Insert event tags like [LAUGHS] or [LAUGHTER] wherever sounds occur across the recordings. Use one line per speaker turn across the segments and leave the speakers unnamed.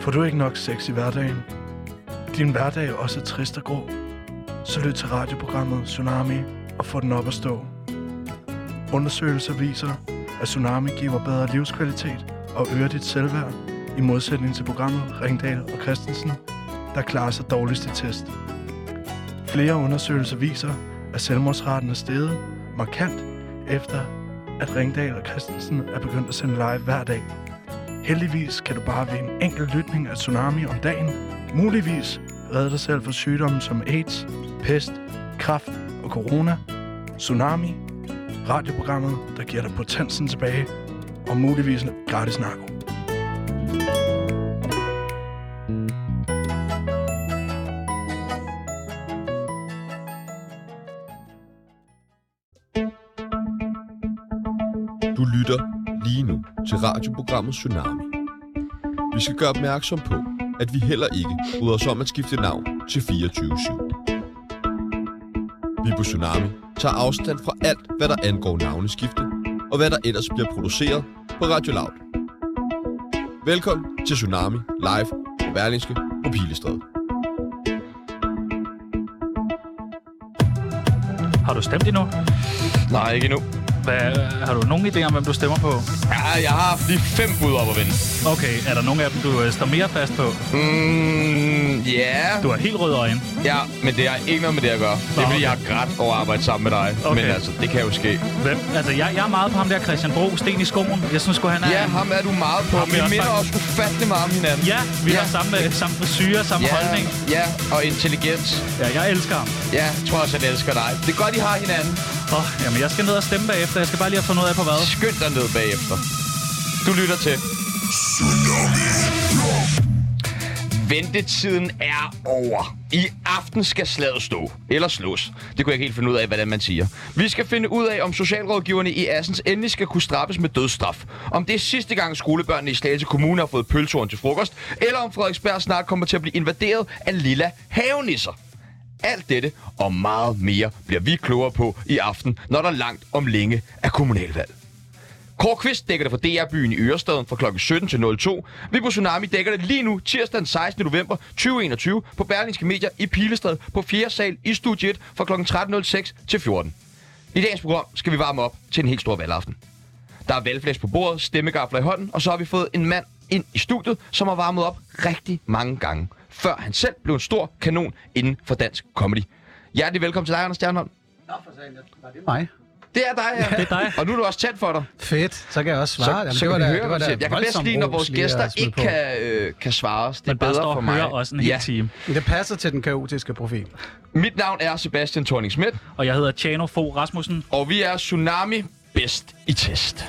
Får du ikke nok sex i hverdagen? Din hverdag er også trist og grå. Så lyt til radioprogrammet Tsunami og få den op at stå. Undersøgelser viser, at Tsunami giver bedre livskvalitet og øger dit selvværd, i modsætning til programmet Ringdal og Christensen, der klarer sig dårligst i test. Flere undersøgelser viser, at selvmordsraten er steget markant efter, at Ringdal og Christensen er begyndt at sende live hver dag. Heldigvis kan du bare ved en enkelt lytning af Tsunami om dagen, muligvis redde dig selv fra sygdomme som AIDS, pest, kræft og corona. Tsunami, radioprogrammet, der giver dig potensen tilbage, og muligvis en gratis narko.
Du lytter lige nu til radioprogrammet Tsunami. Vi skal gøre opmærksom på, at vi heller ikke bryder os om at skifte navn til 24-7. Vi på Tsunami tager afstand fra alt, hvad der angår navneskifte, og hvad der ellers bliver produceret på Radio Loud. Velkommen til Tsunami live på Berlingske på Pilestræde.
Har du stemt endnu?
Nej, ikke endnu.
Hvad, har du nogen idé om, hvem du stemmer på?
Ja, jeg har haft lige fem bud op at vinde.
Okay, er der nogen af dem, du øh, står mere fast på?
Mm, ja.
Du har helt røde øjne.
Ja, men det har ikke noget med det at gøre. Det
Nå,
er fordi,
okay.
jeg har grædt over at arbejde sammen med dig.
Okay.
Men altså, det kan jo ske.
Hvem? Altså, jeg, jeg er meget på ham der Christian Bro, Sten i skoen. Jeg synes sgu, han er...
Ja, ham er du meget på.
Ham er
Vi
jeg også
minder
faktisk-
også ufattelig meget om hinanden.
ja vi
Ja.
har samme, samme frisyrer, samme
ja,
holdning.
ja, og intelligens.
Ja, jeg elsker ham.
Ja, jeg tror også, at jeg elsker dig. Det er godt, I har hinanden.
Åh, jamen, jeg skal ned og stemme bagefter. Jeg skal bare lige have fundet ud af på hvad.
Skynd dig ned bagefter. Du lytter til. Ventetiden er over. I aften skal slaget stå. Eller slås. Det kunne jeg ikke helt finde ud af, hvordan man siger. Vi skal finde ud af, om socialrådgiverne i Assens endelig skal kunne straffes med dødsstraf. Om det er sidste gang skolebørnene i Slagelse Kommune har fået pølsehorn til frokost. Eller om Frederiksberg snart kommer til at blive invaderet af lilla havenisser. Alt dette og meget mere bliver vi klogere på i aften, når der langt om længe er kommunalvalg. Kåre Kvist dækker det for DR-byen i Ørestaden fra kl. 17 til 02. Vi på Tsunami dækker det lige nu, tirsdag den 16. november 2021 på Berlingske Medier i Pilestad på 4. sal i Studie 1 fra kl. 13.06 til 14. I dagens program skal vi varme op til en helt stor valgaften. Der er valgflæs på bordet, stemmegafler i hånden, og så har vi fået en mand ind i studiet, som har varmet op rigtig mange gange, før han selv blev en stor kanon inden for dansk comedy. Hjertelig velkommen til dig, Anders Stjernholm.
Mig.
Det er dig, ja.
Det er dig.
[LAUGHS] Og nu er du også tændt for dig.
Fedt. Så kan jeg også svare.
så, så kan vi høre, hvad du siger. Jeg kan bedst
voldsom
lide, når
ros
vores
lige at
gæster
smide
ikke
på.
kan, øh, kan svare os. Det er
Men bare
bedre
står
for
og
mig.
hører også en hel time.
Det passer til den kaotiske profil.
Mit navn er Sebastian thorning schmidt
Og jeg hedder Tjano Fogh Rasmussen.
og vi er Tsunami Bedst i Test.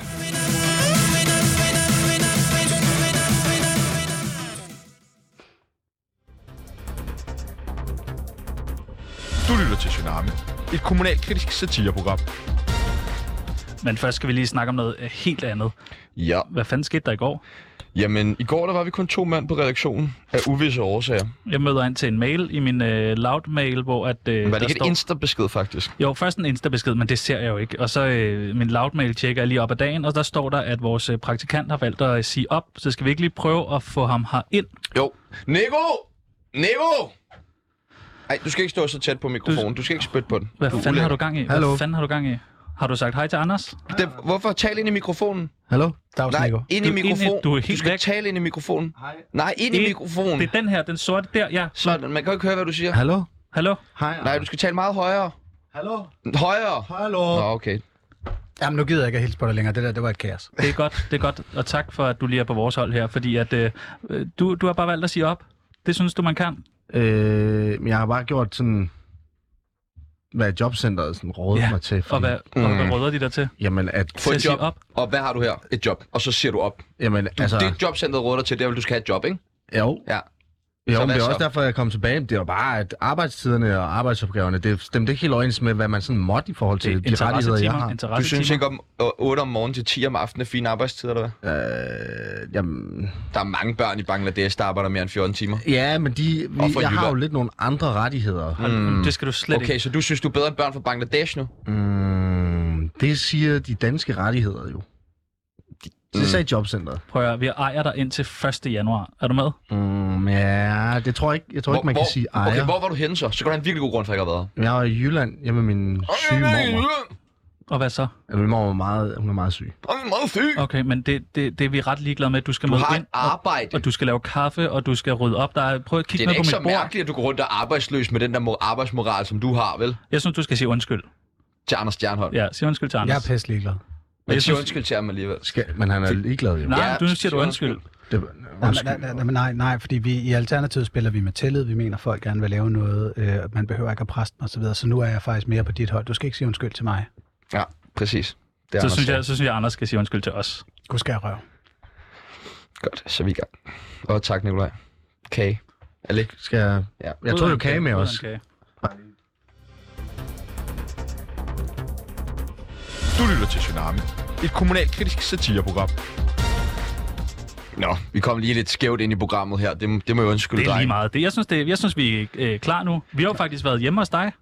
Du lytter til Tsunami, et kommunalkritisk satireprogram.
Men først skal vi lige snakke om noget øh, helt andet.
Ja,
Hvad fanden skete der i går?
jamen i går der var vi kun to mand på redaktionen af uvisse årsager.
Jeg møder ind til en mail i min øh, loud-mail, hvor at... Øh,
Men var
der
det ikke
står-
et Insta-besked faktisk?
Jo, først en Insta-besked, men det ser jeg jo ikke. Og så øh, min loudmail tjekker jeg lige op ad dagen, og der står der, at vores øh, praktikant har valgt at øh, sige op, så skal vi ikke lige prøve at få ham herind.
Jo. Nico! Nico! Nej, du skal ikke stå så tæt på mikrofonen. Du skal ikke spytte på den.
Hvad
Du er
fanden har du
ulækker.
gang i?
Hallo.
Hvad fanden har du gang i? Har du sagt hej til Anders?
Det, hvorfor tale ind i mikrofonen?
Hallo? Dags
Nej,
Nico.
ind i
Du er ind i-
mikrofonen.
du er
du
helt
skal
væk.
tale ind i mikrofonen. Nej, ind i
Ind-
mikrofonen.
Det er den her, den sorte der, ja.
Sådan, man kan jo ikke høre, hvad du siger.
Hallo?
Hallo?
Hej.
Nej, du skal tale meget højere.
Hallo?
Højere!
Hallo?
Nå, okay.
Jamen, nu gider jeg ikke at hilse på dig længere. Det der, det var et kaos.
Det er godt, det er godt. Og tak for, at du lige er på vores hold her, fordi at, øh, øh, du, du har bare valgt at sige op. Det synes du, man kan.
Øh, men jeg har bare gjort sådan, hvad jobcenteret sådan rådede
Ja,
ja. mig til.
Og hvad, mm. og hvad råder de der til?
Jamen, at,
Få
Til
et
at sige
job.
op.
Og hvad har du her? Et job. Og så siger du op.
jamen
Du, altså...
altså,
Det jobcenteret råder dig til, det er, at du skal have et job, ikke?
jo,
Ja. Så
jo men
hvad
det er
så?
også derfor, jeg kom tilbage. Det var bare, at arbejdstiderne og arbejdsopgaverne, det stemte ikke helt overens med, hvad man sådan måtte i forhold til de rettigheder, jeg har.
Du synes ikke om øh, 8 om morgenen til 10 om aftenen er fine arbejdstider, eller hvad?
Øh, jamen,
Der er mange børn i Bangladesh, der arbejder mere end 14 timer.
ja, men de, vi,
Og for
jeg har jo
jytter.
lidt nogle andre rettigheder.
Mm. Det skal du slet okay.
Okay,
ikke.
så du synes, du er bedre end børn fra Bangladesh nu?
Mm, Øhm, det siger de danske rettigheder jo. Det sagde jobcentret.
Prøv at høre, vi ejer dig indtil 1. januar. Er du med?
Mm, ja, det tror jeg ikke, jeg tror ikke man kan sige ejer.
Okay, hvor var du henne så? Så kan du have en virkelig god grund for, at jeg ikke har været
Jeg var i Jylland hjemme med min syge mormor.
Og hvad så?
Altså, min mormor er meget, hun er meget syg.
Jeg er meget syg.
Okay, men det, det, det er vi ret ligeglade med. Du skal
Du
møde
har
ind,
et arbejde.
og du skal lave kaffe, og du skal rydde op. Der er, prøv at
Det
kigge
er da
ned på
ikke
mit
så
bord.
mærkeligt, at du går rundt og er arbejdsløs med den der mo- arbejdsmoral, som du har, vel?
Jeg synes, du skal sige undskyld.
Til Anders Stjernholm. Ja,
Ja, sig undskyld til
Jeg
Anders.
er pisse ligeglad.
men
jeg
sig
synes-
undskyld til ham alligevel.
Skal, men han er ligeglad jo.
Nej,
Ja,
du nu siger du
sig
undskyld.
Det, undskyld.
Nej, nej, nej, nej, nej, fordi vi, i Alternativet spiller vi med tillid. Vi mener, at folk gerne vil lave noget. Øh, man behøver ikke at præste mig osv. Så, videre. så nu er jeg faktisk mere på dit hold. Du skal ikke sige undskyld til mig.
Ja, præcis. Det er
Så
Anders
synes, jeg, så synes jeg, Anders skal sige undskyld til os.
Du skal røv.
Stjernholm. Godt, så er vi i gang. Og tak, Nikolaj. Kage. Alec.
Skal jeg...
Ja.
Jeg tog jo kage med os.
Okay.
Du lytter til Tsunami, et kommunalkritisk satireprogram.
Nå, vi kom lige lidt skævt ind i programmet her. Det, må- det må jeg undskylde
Det er
dig.
lige meget. Det, jeg, synes, det, jeg synes, vi er øh, klar nu. Vi har jo faktisk været hjemme hos dig.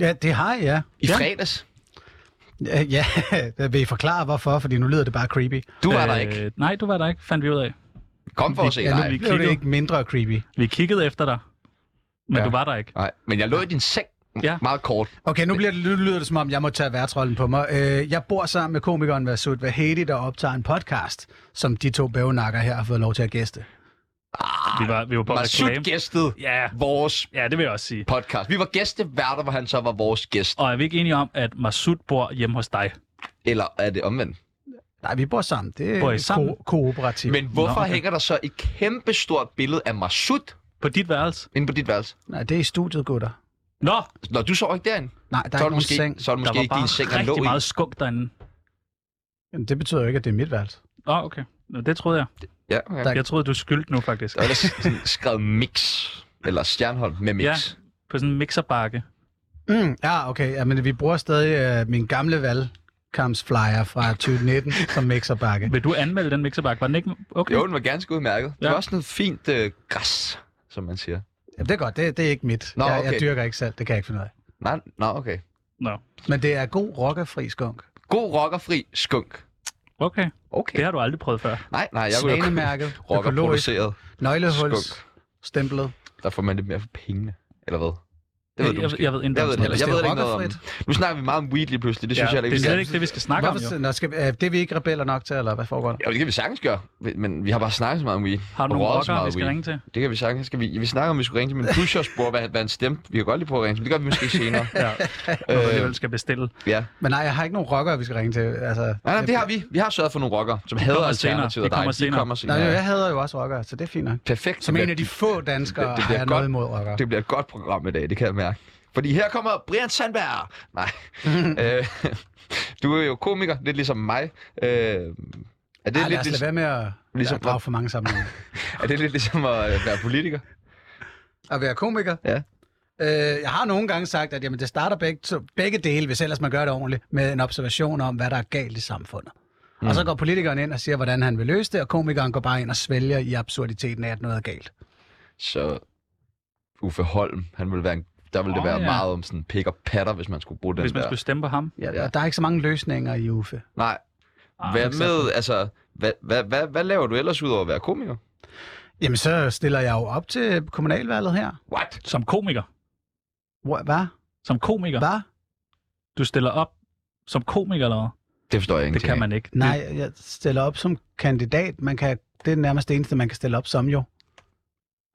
Ja, det har jeg, ja.
I fredags.
Øh, Ja, [LAUGHS] vil I forklare hvorfor? Fordi nu lyder det bare creepy.
Du var der ikke.
Øh, Nej, du var der ikke, fandt vi ud af.
Kom for at se
ja, nu
dig.
blev det
kiggede.
ikke mindre creepy.
Vi kiggede efter dig, men
Ja.
ja. du var der ikke.
Nej, men jeg lå i din seng.
Ja.
Meget kort.
Okay, nu, bliver det, nu lyder det som om, jeg må tage værtrollen på mig. Øh, jeg bor sammen med komikeren Vasut Vahedi, der optager en podcast, som de to bævnakker her har fået lov til at gæste.
Vi var, vi var på
Masud
reklame.
gæstede
Ja,
vores
ja, det vil jeg også sige.
podcast. Vi var gæsteværter, hvor han så var vores gæst.
Og er vi ikke enige om, at Masud bor hjemme hos dig?
Eller er det omvendt?
Nej, vi bor sammen. Det er
Bor I sammen?
Ko- kooperativt. Men...
Men hvorfor
Nå, okay.
hænger der så et kæmpe stort billede af Masud
På dit værelse?
inde på dit værelse?
Nej, det er i studiet, gutter.
Nå,
Når du sover ikke derinde,
Nej, der
så er det
er ikke nogen
måske,
seng.
så er det
der
måske
var
ikke din seng,
bare
han lå
rigtig
i.
meget skunk derinde.
Jamen, det betyder jo ikke, at det er mit værelse.
Nå, okay. Nå, det troede jeg.
Ja, okay.
Der-
Jeg troede, du skyldte nu faktisk.
Der er ellers sådan skrevet mix, eller stjernhold med mix.
Ja, på sådan en mixerbakke.
Mm, ja, okay. Jamen, vi bruger stadig øh, min gamle valgkampsflyer fra
[LAUGHS]
2019 som mixerbakke.
Vil du anmelde den mixerbakke? Var den ikke... Okay.
Jo, den var ganske udmærket. Ja. Det
Ja.
var også noget fint øh, græs, som man siger.
Jamen, det er godt. Det, det er ikke mit.
Nå,
jeg,
okay.
jeg dyrker ikke selv. Det kan jeg ikke finde ud af.
Nej, nej, okay.
Nå.
Men det er god rockerfri skunk.
God rockerfri skunk.
Okay.
Okay.
Det har du aldrig prøvet før.
Nej, nej, jeg kunne jo [LAUGHS]
Svanemærket, økologisk,
rockerproduceret.
nøglehuls, stemplet.
Der får man lidt mere for pengene, eller hvad? Det ved du
jeg,
måske.
jeg, ved ikke,
Jeg ved,
engang,
det heller,
Hvis
jeg
det
ved
er
det ikke noget om. Nu snakker vi meget om weed lige pludselig. Det synes jeg
Ja,
heller
det er
ikke,
slet
vi skal.
ikke det, vi skal snakke om,
Hvorfor,
jo.
nå, skal, øh, det er vi ikke rebeller nok til, eller hvad foregår der?
Jo, det kan vi sagtens gøre, men vi har bare snakket så meget om weed.
Har du
Og
nogle
røget så
rockere,
meget
vi skal
weed.
ringe
[LAUGHS]
til?
Det kan vi sagtens. Skal vi, vi snakker om, at vi skulle ringe til min pusher og spore, hvad, hvad han stemte. Vi kan godt lige prøve at ringe til ham. Det gør vi måske senere.
Ja, når
Øh,
du alligevel skal bestille.
ja.
Men nej, jeg har ikke nogen rockere, vi skal ringe til. Altså,
Nej, nej, det har vi. Vi har sørget for nogle rockere, som hader
kommer
alternativet
senere.
og
De
dig.
kommer
De
senere.
kommer
Nå,
senere.
jo, jeg hader jo også rockere, så det er fint nok.
Perfekt.
Som
Det
en af de
bliver-
få danskere
Det-
det,
det
det
bliver
har jeg noget
godt.
imod rockere. [LAUGHS] Det,
Det bliver et godt program i dag, det kan jeg mærke. Fordi her kommer Brian Sandberg. Nej. øh, [LAUGHS] du er jo komiker, lidt ligesom mig. Øh, er, det
det er Ej,
lidt,
lad os lade
ligesom,
være med at,
ligesom-
ligesom, at drage for mange sammenhænge.
er det lidt ligesom at øh, være politiker?
At være komiker?
Ja.
Øh, jeg har nogle gange sagt, at jamen, det starter begge, to, begge dele, hvis ellers man gør det ordentligt, med en observation om, hvad der er galt i samfundet. Mm. Og så går politikeren ind og siger, hvordan han vil løse det, og komikeren går bare ind og svælger i absurditeten af, at noget er galt.
Så Uffe Holm, han ville være en, der ville det
Åh,
være
ja.
meget om sådan pik og patter, hvis man skulle bruge den
Hvis man
der.
skulle stemme på ham.
Ja,
Ja.
ja. Der er ikke så mange løsninger i Uffe.
Nej.
Ah,
Hvad
for
med, altså, hvad, hvad, hvad, hvad laver du ellers udover at være komiker?
Jamen, så stiller jeg jo op til kommunalvalget her.
What?
Som komiker.
Hvor- Hvad?
Som komiker.
Hvad?
Du stiller op som komiker eller hvad?
Det forstår jeg ikke.
Det kan man ikke.
Nej, jeg stiller op som kandidat. Man kan, det er nærmest det eneste, man kan stille op som jo.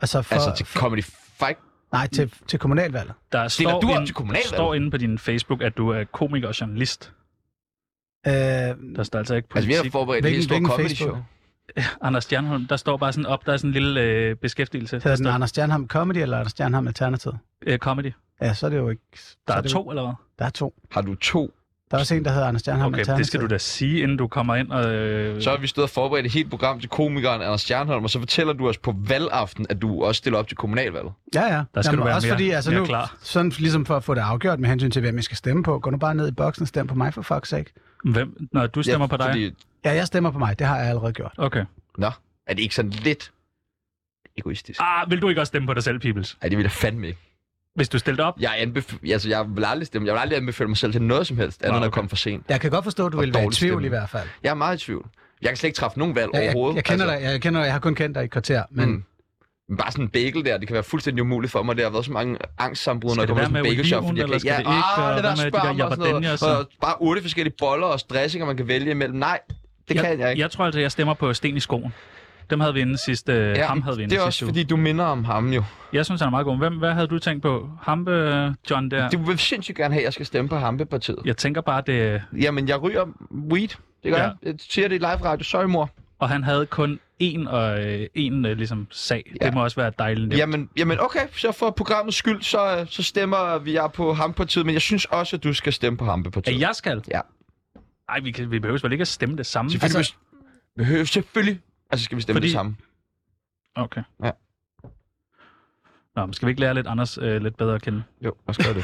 Altså, for,
Altså til Comedy Fight.
nej, til, til kommunalvalget.
Der
Stiller
står,
du op
inde-
til kommunalvalget?
der står inde på din Facebook, at du er komiker og journalist.
Øh,
Der står altså ikke
Altså, vi
politik.
har forberedt et
Hvilken-
helt stort
hvilken
comedy
Facebook?
show.
Anders Stjernholm, der står bare sådan op, der er sådan en lille øh, beskæftigelse. Der
Hedder den
står,
Anders Stjernham Comedy eller Anders Stjernham Alternativ?
øh, comedy.
Ja, så er det jo ikke...
Der
så
er
det
to eller hvad?
Jo, der er to.
Har du to?
Der er også en, der hedder Anders Stjernham
Okay,
Alternativ.
det skal du da sige, inden du kommer ind og... Øh,
Så har vi stået og forberedt et helt program til komikeren Anders Stjernholm, og så fortæller du os på valgaften, at du også stiller op til kommunalvalget.
Ja, ja.
Der skal du være
også
mere-
fordi, altså
mere
nu,
klar.
Sådan ligesom for at få det afgjort med hensyn til, hvem jeg skal stemme på. Gå nu bare ned i boksen og stem på mig for fuck's sake.
Hvem? Når du stemmer på dig?
Fordi,
Ja, jeg stemmer på mig. Det har jeg allerede gjort.
Okay.
nå, er det ikke sådan lidt egoistisk?
Ah, vil du Ah, ikke også stemme på dig selv, Peoples?
Nej, det vil jeg fandme ikke.
Hvis du stillede op?
Jeg, anbef- altså, jeg, vil aldrig stemme. jeg vil aldrig anbefale mig selv til noget som helst, andet
Nå,
end at
okay.
komme for sent.
Jeg kan godt forstå, at du
Og
vil være i
dårlig
tvivl
stemning.
i hvert fald.
Jeg er meget i tvivl. Jeg kan slet ikke træffe nogen valg
Jeg, jeg,
overhovedet.
jeg, kender
Altså,
dig, jeg kender dig, jeg har kun kendt dig i et kvarter, men
Mm. Men Bare sådan en bagel der, det kan være fuldstændig umuligt for mig. Det har været så mange angstsambrud, når
Skal det
jeg kommer
være
til sådan en
med
bagel shop.
oliven,
Fordi jeg kan,
eller
ikke-
skal det ikke,
ah,
og
det
hvad
der
med de
spørger
der
mig og sådan noget.
jabberdanjer, så?
Og bare otte forskellige boller og dressinger, man kan vælge imellem. Nej, det kan jeg ikke.
Jeg tror altså, jeg stemmer på Sten i skoen. Dem havde vi inden sidste, ja, ham havde vi inden
det er
sidste
også
uge.
fordi, du minder om ham jo.
Jeg synes, han er meget god. Hvem, hvad havde du tænkt på? Ham, øh, John der?
Du vil sindssygt gerne have, at jeg skal stemme på Hampepartiet.
Jeg tænker bare, det...
Jamen, jeg ryger weed. Det gør
Ja.
ja. jeg. Jeg siger det i live radio. Sorry, mor.
Og han havde kun én, og, øh, én øh, ligesom, sag. Ja.
Ja.
Det må også være dejligt. Ja.
Jamen, jamen, okay. Så for programmets skyld, så, øh, så stemmer vi jeg på Hampepartiet. Men jeg synes også, at du skal stemme på Hampepartiet.
At jeg skal?
Ja.
Nej, vi, kan, vi behøver vel ikke at stemme det samme.
Selvfølgelig. Altså, behøver, selvfølgelig. Altså, skal vi stemme
Fordi-
fordi... det samme.
Okay.
Ja.
Nå, men skal vi ikke lære lidt Anders øh, lidt bedre at kende?
Jo, lad os gøre det.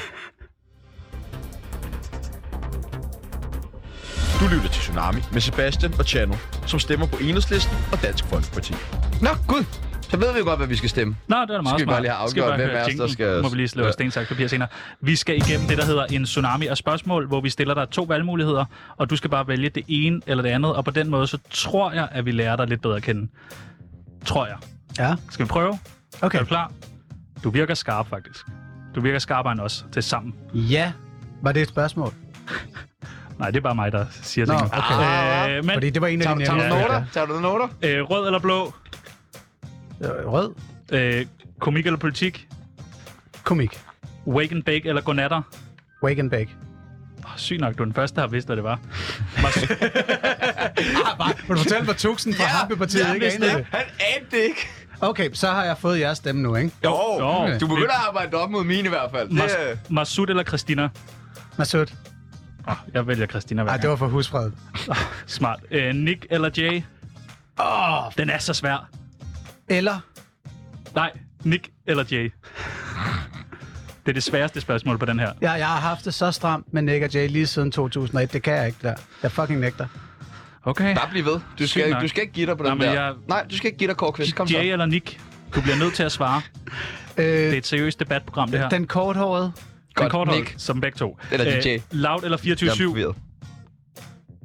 Du lytter til Tsunami med Sebastian og Chano, som stemmer på Enhedslisten og Dansk Folkeparti.
Nå, gud. Så ved vi jo godt, hvad vi skal stemme.
Nå, det var da meget
Skal vi
smart.
bare lige have
Skal vi bare
afgjort, hvem
høre
af os, der
jinglen?
skal-
Må vi lige slå ja.
Ja.
sten, saks, papir senere. Vi skal igennem det, der hedder en tsunami af spørgsmål, hvor vi stiller dig to valgmuligheder, og du skal bare vælge det ene eller det andet, og på den måde, så tror jeg, at vi lærer dig lidt bedre at kende. Tror jeg.
ja,
Skal vi prøve?
okay.
Er du klar? Du virker skarp, faktisk. Du virker skarpere end os til sammen.
Ja, var det et spørgsmål?
Nej, det er bare mig, der siger
Nå,
tingene.
okay.
Øh, men
Fordi det var en af
Tager,
de
tager du
nemmeste,
noter? Tager du noter?
øh, rød eller blå?
ja. Øh, Rød,
Øh, komik eller politik?
komik,
Wake and bake eller godnatter?
wake and bake.
Oh, syg nok, du er den første, der har vidst, hvad det var.
Ah, bare, vil du fortælle mig tuksen fra ja, Hampepartiet, ikke anede det?
Han anede det ikke.
Okay, så har jeg fået jeres stemme nu, ikke?
Jo,
Jo,
du begynder at arbejde op mod mine i hvert fald. Det,
Mas-
øh,
Masud eller Christina?
Masud.
Oh, jeg vælger Christina hver
Ej, det
gang.
var for husfred.
Smart. Øh, Nick eller Jay? Oh. Den er så svær.
Eller,
Nej, Nick eller Jay? det er det sværeste spørgsmål på den her.
ja, jeg har haft det så stramt med Nick og Jay lige siden 2001. Det kan jeg ikke, det der. Jeg fucking nægter.
Okay.
bare bliv ved. Du skal,
nok.
du skal ikke give dig på
Nej,
den
men
der.
jeg-
Nej, du skal ikke give dig Kåre Kom så.
Jay eller Nick? Du bliver nødt til at svare.
Øh,
Det er et seriøst debatprogram, det her.
den korthårede,
Den
Godt,
korte hold,
Nick.
som begge to.
Eller
Øh,
DJ.
Loud eller
Jeg er
24-7?
forvirret.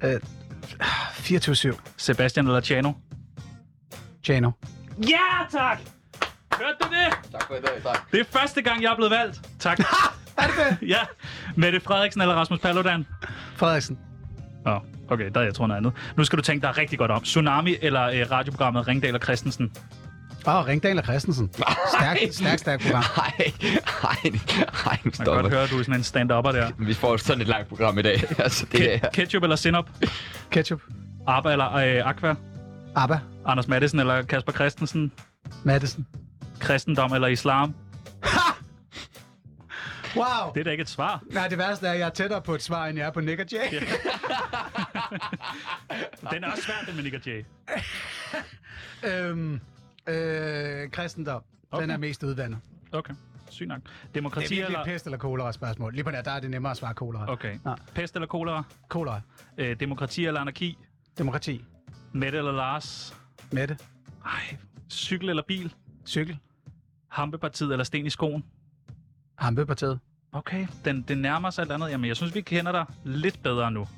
øh, 24-7,
Sebastian eller Chano?
Jano.
Ja, tak! Hørte du det?
Tak for i dag, tak.
Det er første gang, jeg er blevet valgt.
[LAUGHS]
Tak.
Er det det?
ja. Mette Frederiksen eller Rasmus Paludan?
Frederiksen.
Nå, okay, der er jeg tror noget andet. Nu skal du tænke dig rigtig godt om. Tsunami eller øh, radioprogrammet Ringdal og Christensen?
Åh, oh, Ringdal og Christensen. Stærkt, stærkt, stærkt program.
Nej, nej, nej, nu
Man kan
stopper.
godt høre, at du er sådan en stand-upper der.
Vi får sådan et langt program i dag. [LAUGHS] altså, det er...
Ke- ketchup eller Sinop?
Ketchup.
Abba eller øh, Aqua?
Abba.
Anders Madsen eller Kasper Christensen?
Madison.
Kristendom eller Islam?
Wow.
Det er da ikke et svar.
Nej, det værste er, at jeg er tættere på et svar, end jeg er på Nick og Jay.
Den er også svær, den med Nick og Jay.
[LAUGHS] øhm, øh, kristendom. Okay. Den
Okay.
er mest udvandet.
Okay, syg nok.
Det er
Demokrati
virkelig
eller...
et pest eller kolera spørgsmål. Lige på der, der er det nemmere at svare kolera.
Okay.
Nå.
Pest eller kolera?
Kolera.
Øh, demokrati eller anarki?
Demokrati.
Mette eller Lars?
Mette.
Ej, cykel eller bil?
Cykel.
Hampepartiet eller sten i skoen?
Hampepartiet.
Okay, den, den nærmer sig alt andet. Jamen, jeg synes, vi kender dig lidt bedre nu.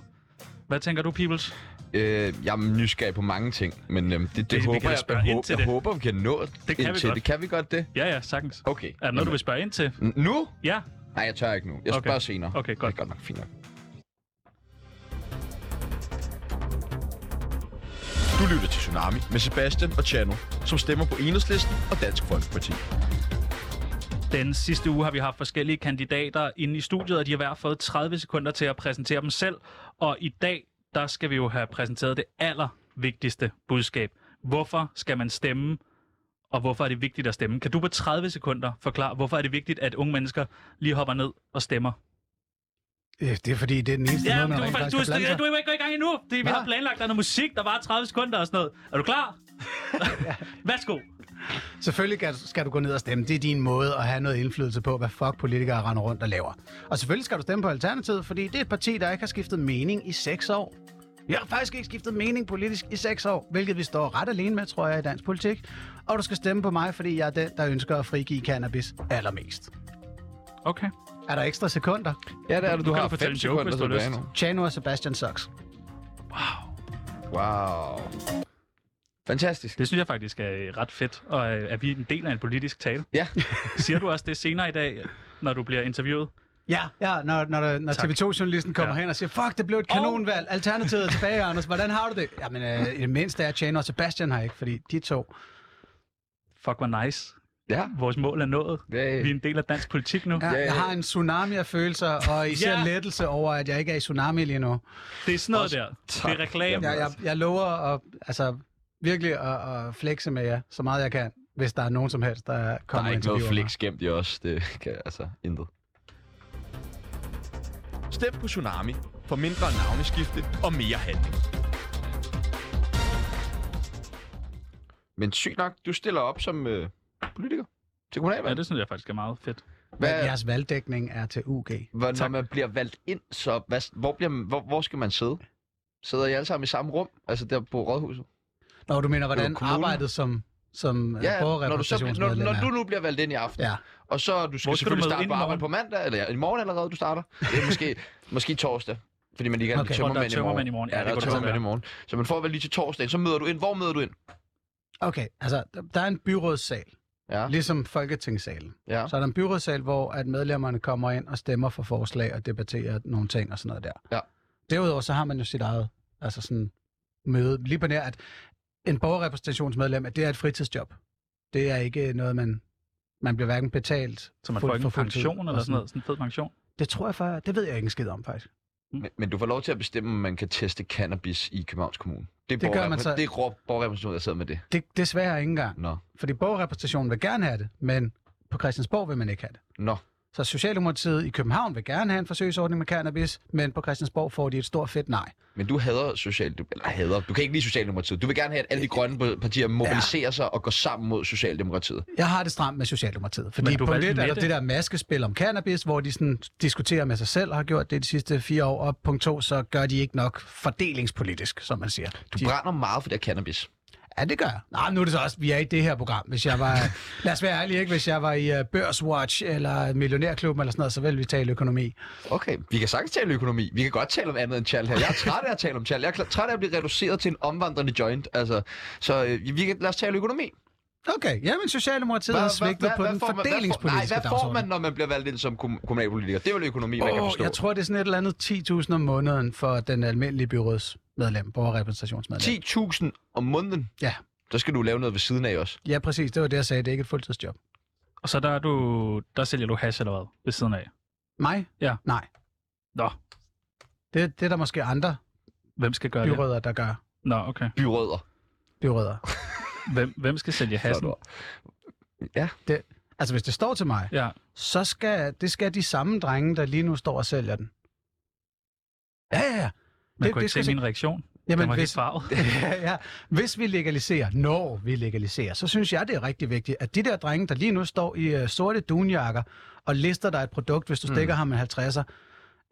Hvad tænker du, Peoples?
Øh, jeg er nysgerrig på mange ting, men øhm, det,
Vi- vi
det, det håber
kan da
jeg,
spørge
jeg,
ind til
håber, jeg
det.
håber, vi kan nå det
kan vi
indtil.
godt.
det kan vi godt det.
Ja, ja, sagtens.
Okay.
Er der noget, du vil spørge ind til?
N- Nu?
Ja,
Nej, jeg tør ikke nu. Jeg
Okay.
spørger senere.
Okay, godt.
Det er godt nok fint nok.
Du lytter til Tsunami med Sebastian og Chano, som stemmer på Enhedslisten og Dansk Folkeparti.
den sidste uge har vi haft forskellige kandidater inde i studiet, og de har hver fået 30 sekunder til at præsentere dem selv. Og i dag, der skal vi jo have præsenteret det allervigtigste budskab. Hvorfor skal man stemme, og hvorfor er det vigtigt at stemme? Kan du på 30 sekunder forklare, hvorfor er det vigtigt, at unge mennesker lige hopper ned og stemmer?
Øh, Det er fordi, det er den eneste
Ja,
måde,
men
man
du,
rent
du,
faktisk
du,
kan blande
du,
sig.
du er ikke gået i gang endnu. Det, vi
Nå.
har planlagt, der er noget musik, der var 30 sekunder og sådan noget. Er du
[LAUGHS]
klar? Værsgo.
Selvfølgelig skal- skal du gå ned og stemme. Det er din måde at have noget indflydelse på, hvad fuck politikere render rundt og laver. Og selvfølgelig skal du stemme på Alternativet, fordi det er et parti, der ikke har skiftet mening i seks år. Vi har faktisk ikke skiftet mening politisk i seks år, hvilket vi står ret alene med, tror jeg, i dansk politik. Og du skal stemme på mig, fordi jeg er den, der ønsker at frigive cannabis allermest.
Okay.
Er der ekstra sekunder?
Ja, det er det. Du
kan
har
du fortælle
5
en joke,
sekunder
hvis du har
tilbage
lyst.
nu.
Chano og Sebastian sucks.
Wow. Fantastisk.
Det synes jeg faktisk er ret fedt, og øh, at vi er en del af en politisk
[LAUGHS]
tale. [LAUGHS]
Ja.
Siger du også det senere i dag, når du bliver interviewet?
Ja, ja når, når, der- når
Tak.
TV2-journalisten kommer
Ja.
ja. hen og siger, fuck, det blev et
Og-
kanonvalg, alternativet er tilbage, Anders, hvordan har du det? Jamen, øh, i det mindste er Chano og Sebastian her ikke, fordi de to...
Fuck, hvor nice.
Ja.
Vores mål er nået.
Det,
Vi er en del af dansk politik nu.
Ja,
ja.
jeg har en tsunami af følelser, og især
Ja.
ja. lettelse over, at jeg ikke er i tsunami lige nu.
Det er sådan noget der. Det
tak.
er reklame.
Jeg, jeg, jeg lover at, altså, virkelig at, at flexe med jer, så meget jeg kan, hvis der er nogen som helst, der
der
kommer
er
og
ikke noget
interviewer mig.
flex gemt i os. Det kan altså intet.
Stem på Tsunami for mindre navneskifte og mere handling.
Men sygt nok, du stiller op som øh, politiker
Ja,
til kommunalvalg.
det synes jeg faktisk er meget fedt.
Men
Hvad,
jeres valgdækning er til UG.
Hvor, når man bliver valgt ind, så hvad, hvor, bliver, man- hvor, hvor skal man sidde? Sidder I alle sammen i samme rum? Altså der på rådhuset?
Når du mener, hvordan
Det er jo kommunen.
arbejdet som, som
når, du så, bliver-
ja,
når,
borgerrepræsentationsmedlem
når du
er.
nu bliver valgt ind i aften,
Ja.
og så du skal,
Hvor skal
selvfølgelig
du møde
starte
ind
på
i
arbejde på
morgen?
mandag, eller i morgen allerede, du starter. Det er måske, [LAUGHS] måske torsdag, fordi man lige kan
Okay.
okay.
Hvor der er
tømmermænd i
tømmermænd i morgen.
morgen.
Ja,
Ja,
det
der
kan
er
godt
tømmermænd i
være.
morgen. Så man får vel lige til torsdag, så møder du ind. Hvor møder du ind?
Okay, altså, der- der er en byrådssal,
Ja,
ligesom Folketingssalen.
ja.
Så er der en byrådssal, hvor at medlemmerne kommer ind og stemmer for forslag og debatterer nogle ting og sådan noget der.
Ja.
Derudover så har man jo sit eget altså sådan, møde. Lige på nær, at en borgerrepræsentationsmedlem, at det er et fritidsjob. Det er ikke noget, man, man bliver hverken betalt
Så man
fuld-
får ikke en
for fuld tid
pension
og
eller sådan noget. Sådan en fed pension.
Det tror jeg faktisk, det ved jeg ikke en skid om faktisk.
Men, men du får lov til at bestemme, om man kan teste cannabis i Københavns Kommune. Det, er
Det gør
borgerrepræ-
man så-
Det er borgerrepræsentationen, der sidder med det.
Det, desværre ikke engang.
Nå.
Fordi borgerrepræsentationen vil gerne have det, men på Christiansborg vil man ikke have det.
Nå.
Så Socialdemokratiet i København vil gerne have en forsøgsordning med cannabis, men på Christiansborg får de et stort fedt nej.
Men du hader social... Eller hader... Du kan ikke lide Socialdemokratiet. Du vil gerne have, at alle de grønne partier mobiliserer ja. sig og går sammen mod Socialdemokratiet.
Jeg har det stramt med Socialdemokratiet, fordi
Men du
på
valgte
lidt er der
Mette.
det der maskespil om cannabis, hvor de sådan diskuterer med sig selv og har gjort det de sidste fire år, og punkt to, så gør de ikke nok fordelingspolitisk, som man siger.
Du
De,
brænder meget for det her cannabis.
ja, det gør jeg. Nej, men nu er det så også, vi er i det her program. Hvis jeg var, [LAUGHS] lad os være ærlige, ikke? hvis jeg var i uh, Børswatch eller Millionærklubben eller sådan noget, så ville vi tale økonomi.
Okay, vi kan sagtens tale økonomi. Vi kan godt tale om andet end chal her. Jeg er træt af at tale om chal. Jeg er kla- træt af at blive reduceret til en omvandrende joint. Altså, så øh, vi kan, lad os tale økonomi.
Okay, jamen Socialdemokratiet har svigtet på den
får man-
fordelingspolitiske
hvad får, nej, hvad får
dagsorden.
man, når man bliver valgt ind som kom- kommunalpolitiker? Det er vel økonomi, man kan
Åh,
forstå.
jeg tror, det er sådan et eller andet 10.000 om måneden for den almindelige byrådsmedlem, borgerrepræsentationsmedlem.
10.000 om måneden?
Ja.
Så skal du lave noget ved siden af også.
Ja, præcis. Det var det, jeg sagde. Det er ikke et fuldtidsjob.
Og så der, er du, der sælger du hash eller hvad ved siden af.
Mig?
Ja.
Nej.
Nå.
Det, det er der måske andre
Hvem skal gøre
byrødder, der gør.
det? Nå, okay.
Byrødder.
Byrødder.
Hvem, hvem skal sælge
Flot
hassen?
ord. Ja.
Altså, hvis det står til mig,
Ja,
så skal det skal de samme drenge, der lige nu står og sælger den. Ja, ja, ja.
man det, kunne ikke se
skal så-
min reaktion. Den
Jamen,
var helt
hvis,
farvet.
[LAUGHS] ja, ja. hvis vi legaliserer, når vi legaliserer, så synes jeg, det er rigtig vigtigt, at de der drenge, der lige nu står i øh, sorte dunjakker og lister dig et produkt, hvis du stikker ham en 50'er,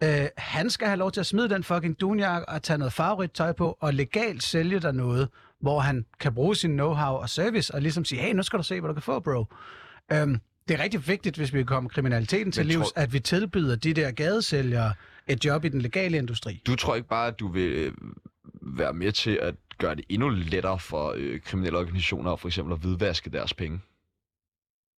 øh, han skal have lov til at smide den fucking dunjakke og tage noget farverigt tøj på og legalt sælge dig noget, hvor han kan bruge sin know-how og service og ligesom sige, hey, nu skal du se, hvad du kan få, bro. Øhm, det er rigtig vigtigt, hvis vi vil komme kriminaliteten til
Men tror-
livs, at vi tilbyder de der gadesælgere et job i den legale industri.
Du tror ikke bare, at du vil øh, være med til at gøre det endnu lettere for øh, kriminelle organisationer for eksempel at hvidvaske deres penge?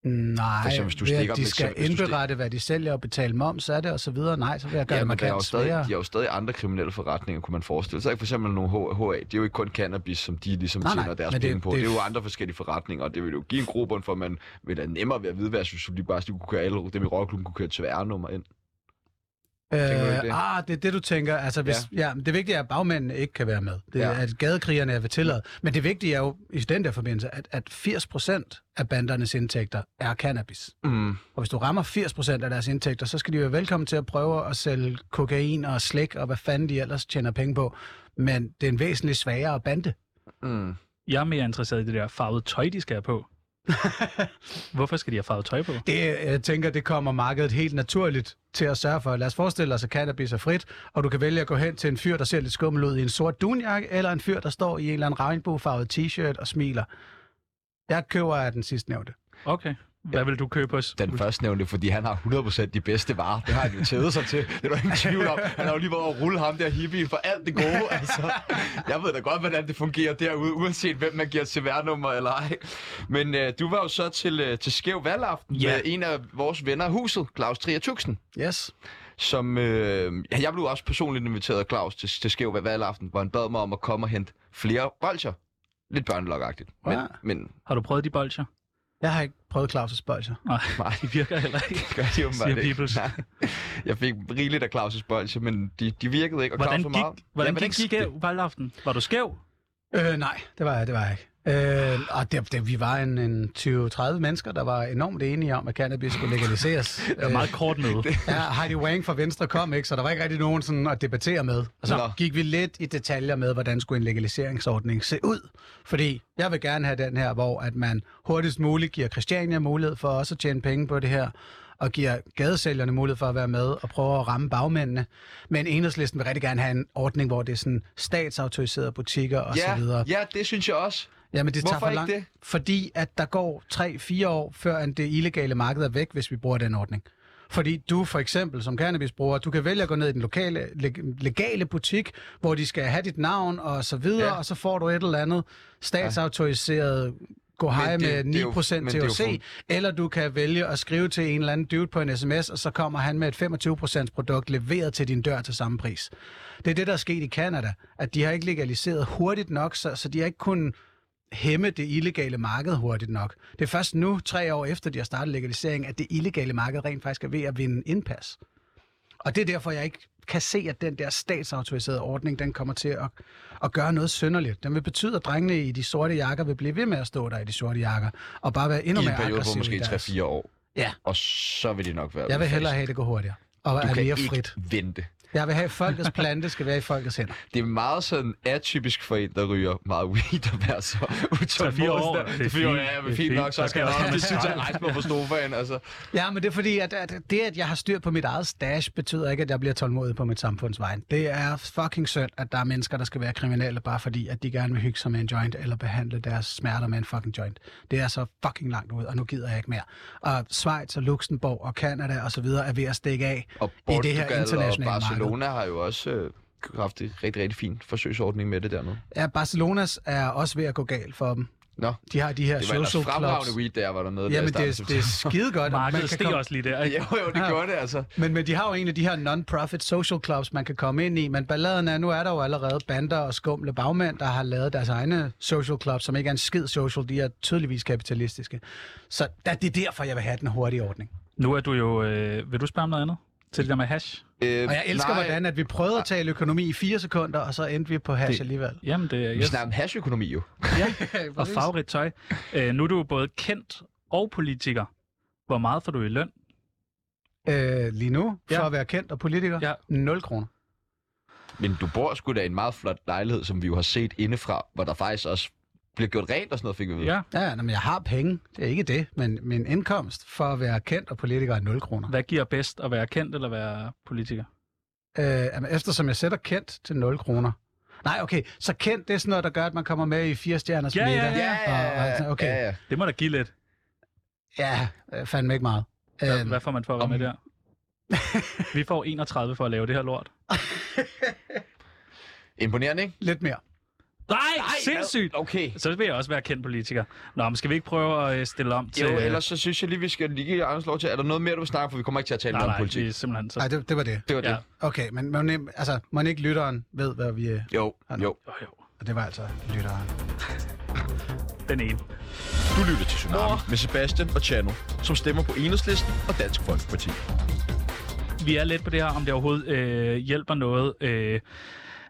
Nej,
For eksempel, Altså, hvis du
ved,
stikker
at
dem
de
et
skal
sim- hvis du stik-
indberette, hvad de sælger og betale moms af det og så videre. Nej, så vil jeg gøre det
men der er jo
markant
stadig,
sværere.
de har jo stadig andre kriminelle forretninger, kunne man forestille sig. For eksempel nogle H- HA, det er jo ikke kun cannabis, som de ligesom
Nej,
tjener
nej,
deres
men det-
penge på.
det-
Det, er jo andre forskellige forretninger, og det vil jo give en grobund for, at man vil da nemmere ved at hvidvaske, hvis du lige bare hvis du kunne køre alle dem i rockklubben, kunne køre et sværnummer ind. tænker du ikke
Øh,
det?
ah, det er det, du tænker. Altså, hvis, ja. Ja, men det vigtige er, at bagmændene ikke kan være med. Det er,
Ja.
ja. at gadekrigerne er ved tillade. Men det vigtige er jo i den der forbindelse, at, at 80% af bandernes indtægter er cannabis.
Mm.
Og hvis du rammer 80% af deres indtægter, så skal de være velkommen til at prøve at sælge kokain og slik og hvad fanden de ellers tjener penge på. Men det er en væsentligt sværere bande.
Mm.
Jeg er mere interesseret i det der farvede tøj, de skal have
[LAUGHS]
på. Hvorfor skal de have farvet tøj på?
Det, jeg tænker, det kommer markedet helt naturligt til at sørge for. Lad os forestille os, at cannabis er frit, og du kan vælge at gå hen til en fyr, der ser lidt skummel ud i en sort dunjakke, eller en fyr, der står i en eller anden regnbuefarvet t-shirt og smiler. Jeg køber af den sidstnævnte.
Okay. Hvad vil du købe os?
Den førstnævnte, fordi han har 100% de bedste varer. Det har han jo tædet sig til. Det er der ingen tvivl om. Han har jo lige været over at rulle ham der hippie for alt det gode. Altså, jeg ved da godt, hvordan det fungerer derude, uanset hvem man giver CVR-nummer eller ej. Men øh, du var jo så til, øh, til Skæv Valgaften
Ja.
med en af vores venner i huset, Claus Trier Tuxen.
Yes.
Som, øh, ja, jeg blev også personligt inviteret af Claus til, til Skæv Valgaften, hvor han bad mig om at komme og hente flere bolcher. Lidt børnelokagtigt. Men,
Ja.
men
Har du prøvet de bolcher?
Jeg har ikke prøvet Claus' bolcher.
Nej,
Nej.
de virker heller ikke.
Det [LAUGHS] gør de åbenbart
Siger
ikke.
Peoples.
Nej. Jeg fik rigeligt af Claus' bolse, men de, de virkede ikke. Og
Hvordan
Claus var meget...
gik, hvordan gik, gik
det?
valgaften? Var du skæv?
Øh, nej, det var jeg, det var jeg ikke. Øh, og det, det, vi var en, en 20-30 mennesker, der var enormt enige om, at cannabis skulle legaliseres.
Det var
Øh,
et meget
[LAUGHS]
kort møde.
Ja, Heidi Wang fra Venstre kom ikke, så der var ikke rigtig nogen sådan at debattere med. Og så
Nå.
gik vi lidt i detaljer med, hvordan skulle en legaliseringsordning se ud. Fordi jeg vil gerne have den her, hvor at man hurtigst muligt giver Christiania mulighed for også at tjene penge på det her, og giver gadesælgerne mulighed for at være med og prøve at ramme bagmændene. Men enhedslisten vil rigtig gerne have en ordning, hvor det er sådan statsautoriserede butikker osv.
Ja, ja, det synes jeg også.
Jamen, det tager
Hvorfor
for
ikke
langt,
det?
fordi at der går 3-4 år, før end det illegale marked er væk, hvis vi bruger den ordning. Fordi du for eksempel som cannabisbruger, du kan vælge at gå ned i den lokale, leg- legale butik, hvor de skal have dit navn og så videre,
Ja.
ja. og så får du et eller andet statsautoriseret gå hej
Men det-
med
det er jo-
9%
men det er jo
THC, eller du kan vælge at skrive til en eller anden dude på en sms, og så kommer han med et 25% produkt leveret til din dør til samme pris. Det er det, der er sket i Kanada, at de har ikke legaliseret hurtigt nok, så, så de har ikke kunnet hæmme det illegale marked hurtigt nok. Det er først nu, tre år efter de har startet legalisering, at det illegale marked rent faktisk er ved at vinde indpas. Og det er derfor, jeg ikke kan se, at den der statsautoriserede ordning, den kommer til at, at gøre noget synderligt. Den vil betyde, at drengene i de sorte jakker vil blive ved med at stå der i de sorte jakker, og bare være endnu
I en
mere
periode på
aggressive
måske
i deres-
3-4 år.
Ja.
Og så vil de nok være
Jeg vil
udfaset.
hellere have, at det går hurtigere, og
Du
er
kan
mere
ikke
frit.
vente.
Jeg vil have, at
[LAUGHS]
folkets plante skal være i folkets hænder.
Det er meget sådan atypisk for en, der ryger meget weed og være så utålmodig.
år,
Det er fint, ja, det er fint nok, så
Der
skal
skal
jeg
også
nok.
komme
Det synes
en
jeg rejse mig på sofaen, altså.
Ja, men det er fordi, at, at det, at jeg har styr på mit eget stash, betyder ikke, at jeg bliver tålmodig på mit samfunds vejen. Det er fucking synd, at der er mennesker, der skal være kriminelle, bare fordi, at de gerne vil hygge sig med en joint, eller behandle deres smerter med en fucking joint. Det er så fucking langt ud, og nu gider jeg ikke mere. Og Schweiz og Luxembourg og Kanada og så videre er ved at stikke af
Og
i det her
Portugal og
internationale marked.
Barcelona har jo også øh, haft en rigtig, rigtig fin forsøgsordning med det dernede.
Ja, Barcelonas er også ved at gå galt for dem.
Nå,
De har de her
det var ellers
social
fremragende
clubs.
weed, der var dernede. der i
Jamen,
starten af
det, er- det er skide godt.
Markedet steg også lige der, ikke?
[LAUGHS] Jo, jo, det
Ja.
gjorde det, altså.
Men, men de har jo en af de her non-profit social clubs, man kan komme ind i. Men balladen er, nu er der jo allerede bander og skumle bagmænd, der har lavet deres egne social clubs, som ikke er en skid social. De er tydeligvis kapitalistiske. Så der, det er derfor, jeg vil have den hurtige ordning.
Nu er du jo... Øh, vil du spørge om noget andet? Til det der med hash?
Øh,
Og jeg elsker,
nej,
Nej. hvordan at vi prøvede at tale økonomi i fire sekunder, og så endte vi på hash
Det-
det... alligevel.
Jamen, det er...
Vi snakker om hashøkonomi jo.
[LAUGHS] Ja,
og farverigt tøj. Øh, nu er du jo både kendt og politiker. Hvor meget får du i løn?
øh, Lige nu, for
Ja.
at være kendt og politiker,
Ja.
ja. 0 kroner.
Men du bor sgu da i en meget flot lejlighed, som vi jo har set indefra, hvor der faktisk også bliver gjort rent og sådan noget, fik vi ved.
Ja.
Ja, ja, nå, men jeg har penge. Det er ikke det, men min indkomst for at være kendt og politiker er 0 kroner.
Hvad giver bedst at være kendt eller være politiker?
Øh, jamen, eftersom jeg sætter kendt til 0 kroner. Nej, okay, så kendt det er sådan noget, der gør, at man kommer med i fire stjerners
Ja, ja,
middag.
ja,
Og, og, Ah, altså, okay.
ja, ja.
Det må da give lidt.
ja, ja fandme ikke meget.
Hvad,
Øhm,
hvad får man for at være med
[LAUGHS]
der? Vi får 31 for at lave det her lort.
Imponerende, ikke?
lidt mere.
Nej, sindssygt!
Okay.
Så vil jeg også være kendt politiker. Nå, men skal vi ikke prøve at øh, stille om til...
Jo, ellers så synes jeg lige, vi skal lige give Anders lov til, er der noget mere, du vil snakke om? for vi kommer ikke til at tale
Nej,
mere om
nej,
politik.
vi er simpelthen så...
Nej, det, det var det.
Det var det.
Ja.
Okay, men man, altså, man ikke lytteren ved, hvad vi... er.
Jo, jo.
Jo, jo,
Og det var altså lytteren.
den ene.
Du lytter til Tsunami med Sebastian og Chano, som stemmer på Enhedslisten og Dansk Folkeparti.
Vi er lidt på det her, om det overhovedet øh, hjælper noget øh,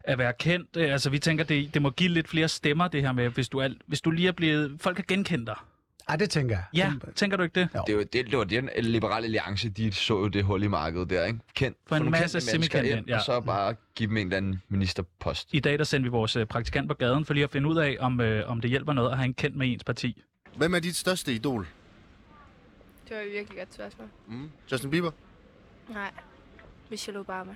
at være kendt. Øh, Altså, vi tænker, det, det må give lidt flere stemmer, det her med, hvis du, er, hvis du lige er blevet... Folk har genkendt dig.
Ej, det tænker jeg.
Ja, tænker du ikke det?
Det, var, det, det var den liberale alliance, de så jo det hul i markedet der, ikke? Kendt.
For en
få nogle
masse
kendte mennesker
semikendte,
ind,
ja.
Og så bare give dem en eller anden ministerpost.
I dag der sendte vi vores øh, praktikant på gaden for lige at finde ud af, om, øh, om det hjælper noget at have en kendt med ens parti.
Hvem er dit største idol?
Det var et virkelig godt spørgsmål.
Justin Bieber?
Nej. Michelle Obama.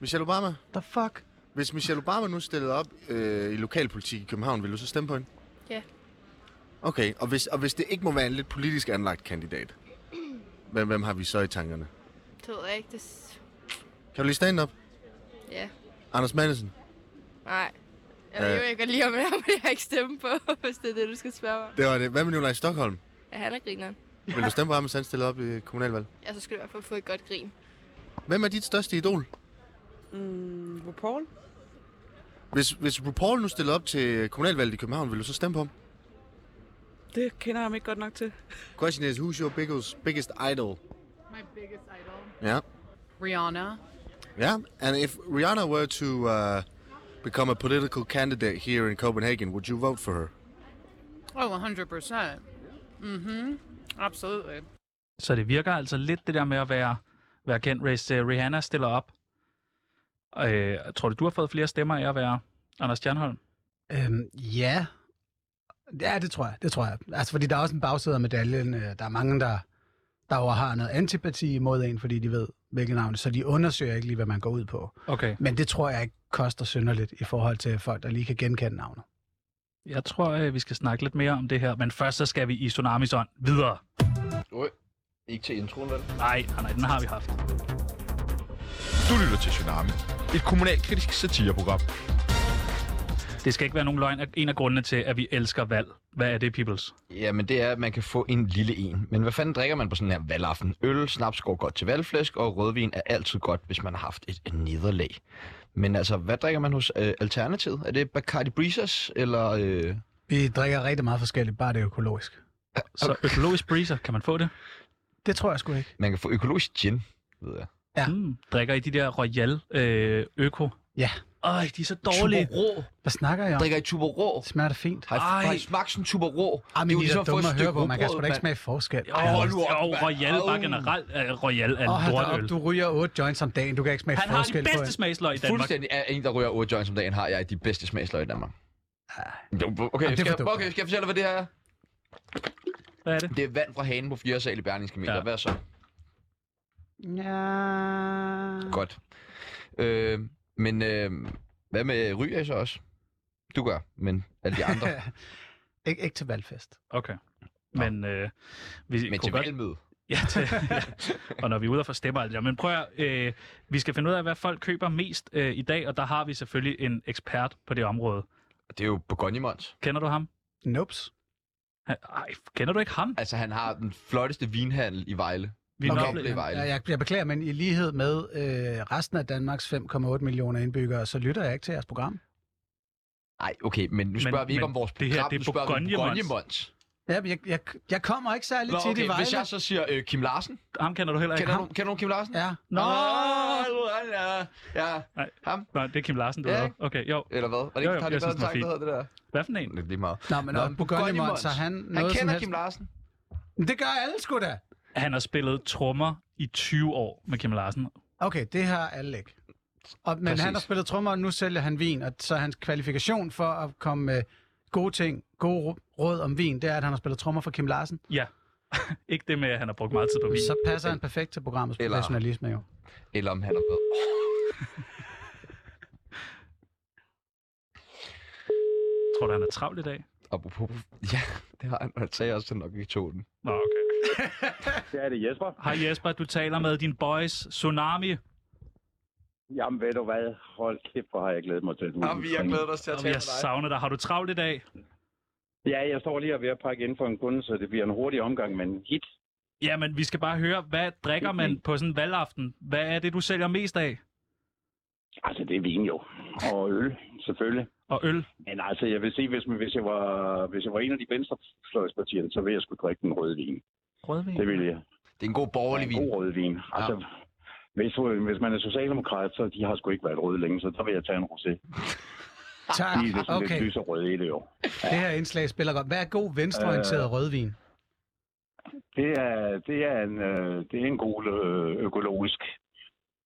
Michelle Obama?
The fuck?
Hvis Michelle Obama nu stillede op øh, i lokalpolitik i København, ville du så stemme på hende?
Ja.
Okay, og hvis, og hvis det ikke må være en lidt politisk anlagt kandidat, hvem, hvem har vi så i tankerne?
Det ved jeg ikke. Det... s-
Kan du lige stand op?
Ja,
Anders Madsen?
nej. Jeg
Øh.
ved jo, jeg godt lide [LAUGHS] ham her, men jeg har ikke stemme på, [LAUGHS] hvis det er det, du skal spørge mig. om.
Det var det. Hvad med Nikolaj Stockholm?
Ja, han er grineren.
Vil du stemme på ham, hvis han stiller op i kommunalvalg?
Ja, så skulle du i hvert fald få et godt grin.
Hvem er dit største idol?
Mm, RuPaul?
Hvis, hvis RuPaul nu stiller op til kommunalvalget i København, vil du så stemme på ham?
Det kender jeg ham ikke godt nok til.
Question is, who's your biggest, biggest idol?
My biggest idol,
Yeah.
Rihanna.
Yeah. And if Rihanna were to uh, become a political candidate here in Copenhagen, would you vote for her?
Oh, 100%. Mm-hmm. Absolutely.
Så det virker altså lidt det der med at være, være kendt, hvis øh, Rihanna stiller op. Øh, tror du, du har fået flere stemmer af at være Anders Stjernholm?
Øhm, ja. Ja, det tror jeg. Det tror jeg. Altså, fordi der er også en bagside af medaljen. Øh, Der er mange, der, der jo har noget antipati imod en, fordi de ved, hvilket navn det er, så de undersøger ikke lige, hvad man går ud på.
Okay.
Men det tror jeg ikke koster synderligt i forhold til folk, der lige kan genkende navnet.
Jeg tror, øh, vi skal snakke lidt mere om det her, men først så skal vi i Tsunamis ånd videre.
Øj, ikke til introen, vel?
Nej, nej, nej, den har vi haft.
Du lytter til Tsunami, et kommunalkritisk satireprogram.
Det skal ikke være nogen løgn. at En af grundene til, at vi elsker valg. Hvad er det, peoples?
Jamen, det er, at man kan få en lille en. Men hvad fanden drikker man på sådan her valgaften? Øl, snaps går godt til valgflæsk, og rødvin er altid godt, hvis man har haft et et nederlag. Men altså, hvad drikker man hos øh, Alternativet? Er det Bacardi Breezers, eller... Øh...
Vi drikker rigtig meget forskelligt, bare det er økologisk.
Så økologisk breezer, kan man få det?
Det tror jeg sgu ikke.
Man kan få økologisk gin, ved jeg.
Ja.
Mm, drikker I de der Royal øh, Øko?
Ja.
Øj, de er så dårlige.
Tuborg.
Hvad snakker jeg om?
Drikker I Tuborg?
Det smager da fint.
Har I,
Ej.
har I smagt sådan en Tuborg?
Ej, men I er da dumme at høre på. Man kan sgu da ikke smage forskel.
Jo, hold
nu op,
jo,
mand.
Royal bare
Au.
generelt. Øh, Royal er
Og
en
hold da
lortøl.
op, du ryger 8 joints om dagen. Du kan ikke smage
Han har de
forskel på
bedste
en.
smagsløg i Danmark.
Fuldstændig er en, der ryger 8 joints om dagen, har jeg de bedste smagsløg i Danmark.
Ah.
Jo, Okay,
Jamen,
skal,
det er for
jeg,
dumt.
okay, skal jeg fortælle dig, hvad det her er?
Hvad er det?
Det er vand fra hanen på 4. sal i Berlingske Meter.
Ja.
Ja. Hvad så?
Ja.
Godt. Øh, men øh, hvad med ryger I så også? Du gør, men alle de [LAUGHS] andre.
Ikke, ikke til valgfest.
Okay. Men øh, vi
men
kunne
til
godt
valgmøde.
Ja, til, [LAUGHS] ja. og når vi er ude og få stemmer. alt det der. Men prøv at, øh, vi skal finde ud af, hvad folk køber mest øh, i dag, og der har vi selvfølgelig en ekspert på det område.
Det er jo Bourgogne-Mons.
Kender du ham?
Nopes.
Han- Ej, kender du ikke ham?
Altså, han har den flotteste vinhandel i Vejle.
Vi er
Okay.
nok blevet-
Det er Vejle.
Jeg, jeg, jeg beklager, men i lighed med øh, resten af Danmarks 5,8 millioner indbyggere, så lytter jeg ikke til jeres program.
Nej, okay, men nu spørger vi ikke
men
om vores
det her,
program,
det er
nu spørger vi om
Bourgogne-Mons.
Bourgogne-Mons.
Ja, men jeg, jeg, jeg kommer ikke særlig
Nå,
tit i
okay,
Vejle.
hvis jeg så siger øh, Kim Larsen.
Ham kender du heller ikke.
Kender du,
Ham?
kender du Kim Larsen?
Ja,
Nå!
Nå! Ja,
Nej.
ham.
Nej, det er Kim Larsen, du
Ja,
ved.
ikke?
Okay, jo.
Eller hvad? Var det
Jo, jo,
ikke, har
jeg
det været
synes,
en
den er
sang, der
fin.
hedder det der?
Hvad for en?
Det er lige meget.
Nå, men om Bourgogne så
Han
han noget som
kender
helst.
Kim Larsen.
Det gør alle sgu da.
Han har spillet trommer i 20 år med Kim Larsen.
Okay, det har alle ikke. Og, men
Præcis.
han har spillet trommer, og nu sælger han vin, og så er hans kvalifikation for at komme med gode ting, gode ru- råd om vin, det er, at han har spillet trommer for Kim Larsen.
Ja. [LAUGHS] ikke det med, at han har brugt meget tid på vin.
Så passer han perfekt til programmets
Eller-
professionalisme jo.
Eller om han har været...
Tror du, han er travlt i dag?
Apropos... [LAUGHS] Ja, det har han. Han sagde også, at han nok ikke tog den.
Nå, okay.
Ja, [LAUGHS] det er Jesper.
Hej Jesper, du taler med din boys Tsunami,
Jamen, ved du hvad? Hold kæft, hvor har jeg glædet mig til. at du
Nå, vi har
ringer.
glædet os til at
og vi
tale
har
med dig.
savnet dig. Har du travlt i dag?
Ja, jeg står lige og er ved at pakke ind for en kunde, så det bliver en hurtig omgang, men hit.
Jamen, vi skal bare høre, hvad drikker man på sådan en valgaften? Hvad er det, du sælger mest af?
Altså, det er vin jo. Og øl, selvfølgelig.
Og øl?
Men altså, jeg vil sige, hvis, man, hvis, jeg, var, hvis jeg var en af de venstrefløjspartierne, så ville jeg skulle drikke en rødvin.
Rødvin?
Det ville jeg.
Det er en god borgerlig
En
vin.
god rødvin. Altså, hvis, hvis man er socialdemokrat, så de har sgu ikke været røde længe, så der vil jeg tage en rosé.
Tak,
De er lidt, okay. lidt
okay.
lys og røde i det jo.
Det her indslag spiller godt. Hvad er god venstreorienteret øh... rødvin?
Det er, det er, en, øh, det er en god øh, økologisk,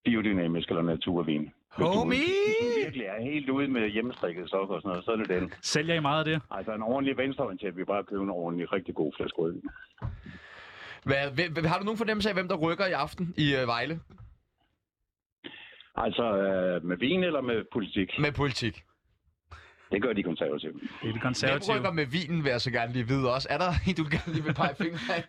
biodynamisk eller naturvin. Hvis du-
Homie!
Hvis du virkelig er helt ude med hjemmestrikket sok og sådan noget, så er det den.
Sælger I meget af det?
Altså en ordentlig venstreorienteret, vi bare købe en ordentlig, rigtig god flaske rødvin.
Hvad, hvem, hvem- har du nogen fornemmelse af, hvem der rykker i aften i øh, Vejle?
Altså øh, med vin eller med politik?
Med politik.
Det gør de konservative.
Det er de
Hvem rykker med vinen, vil jeg så gerne lige vide også. Er der en, du gerne lige vil pege fingre af?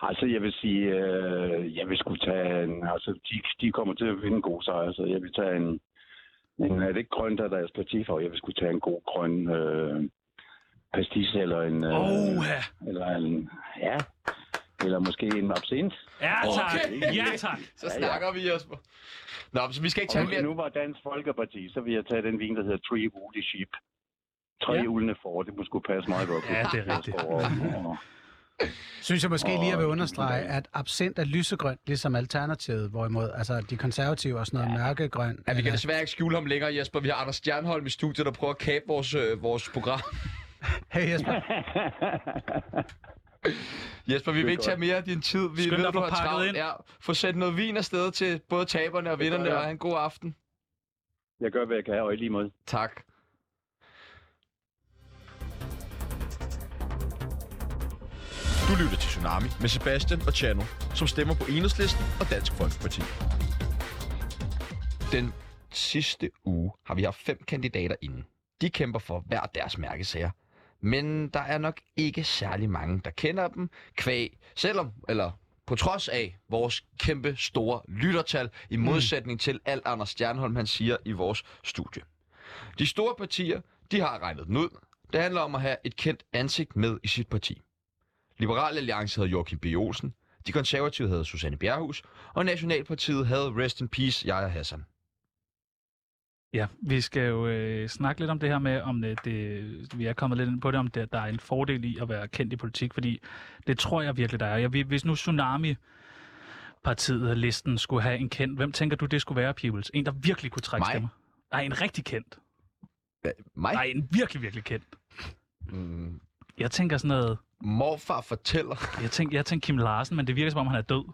Altså, jeg vil sige, øh, jeg vil skulle tage en... Altså, de, de kommer til at vinde en god sejr, så jeg vil tage en... en er det ikke grøn, der er deres partifarve? Jeg vil skulle tage en god grøn øh, pastis eller en... Øh,
oh,
Eller en... Ja. Eller måske en absint.
Ja, tak.
Okay.
Ja, tak.
Så snakker vi, Jesper. Nå, men så vi skal ikke
Og
tage
hvis det
mere.
nu var Dansk Folkeparti, så ville jeg tage den vin, der hedder Three Woolly Sheep. Tre ja. ulende får, det må sgu passe meget godt.
Ja, det er rigtigt. [LAUGHS]
Og-
Synes jeg måske
Og-
lige, at jeg vil understrege, at absint er lysegrønt, ligesom alternativet, hvorimod altså, de konservative og sådan noget mørkegrøn.
Ja, vi kan
eller-
desværre ikke skjule ham længere, Jesper. Vi har Anders Stjernholm i studiet, der prøver at kabe vores, øh, vores program.
Hey Jesper,
[LAUGHS] Jesper, vi vil ikke tage mere af din tid. Vi
Skynd
ved,
dig at
du
få
har
pakket
travlt.
ind.
Ja, få sendt noget vin afsted til både taberne og vinderne,
jeg.
og have en god aften.
Jeg gør, hvad jeg kan, og i lige måde.
Tak.
Du lytter til Tsunami med Sebastian og Chano, som stemmer på Enhedslisten og Dansk Folkeparti.
Den sidste uge har vi haft fem kandidater inden. De kæmper for hver deres mærkesager. Men der er nok ikke særlig mange, der kender dem, kvæg, selvom, eller på trods af vores kæmpe store lyttertal, i modsætning til alt Anders Stjernholm, han siger i vores studie. De store partier, de har regnet den ud. Det handler om at have et kendt ansigt med i sit parti. Liberal Alliance havde Joachim B. Olsen, de konservative havde Susanne Bjerghus, og Nationalpartiet havde Rest in Peace, Jaja Hassan.
Ja, vi skal jo øh, snakke lidt om det her med, om det, det, vi er kommet lidt ind på det, om det, der er en fordel i at være kendt i politik, fordi det tror jeg virkelig, der er. Jeg, vil- hvis nu Tsunami partiet listen skulle have en kendt, hvem tænker du, det skulle være, Peoples? En, der virkelig kunne trække
Mig?
stemmer? Nej, en rigtig kendt.
Mig?
Nej, en virkelig, virkelig kendt.
Mm,
Jeg tænker sådan noget,
morfar fortæller.
jeg tænker, jeg tænker Kim Larsen, men det virker som om, han er død.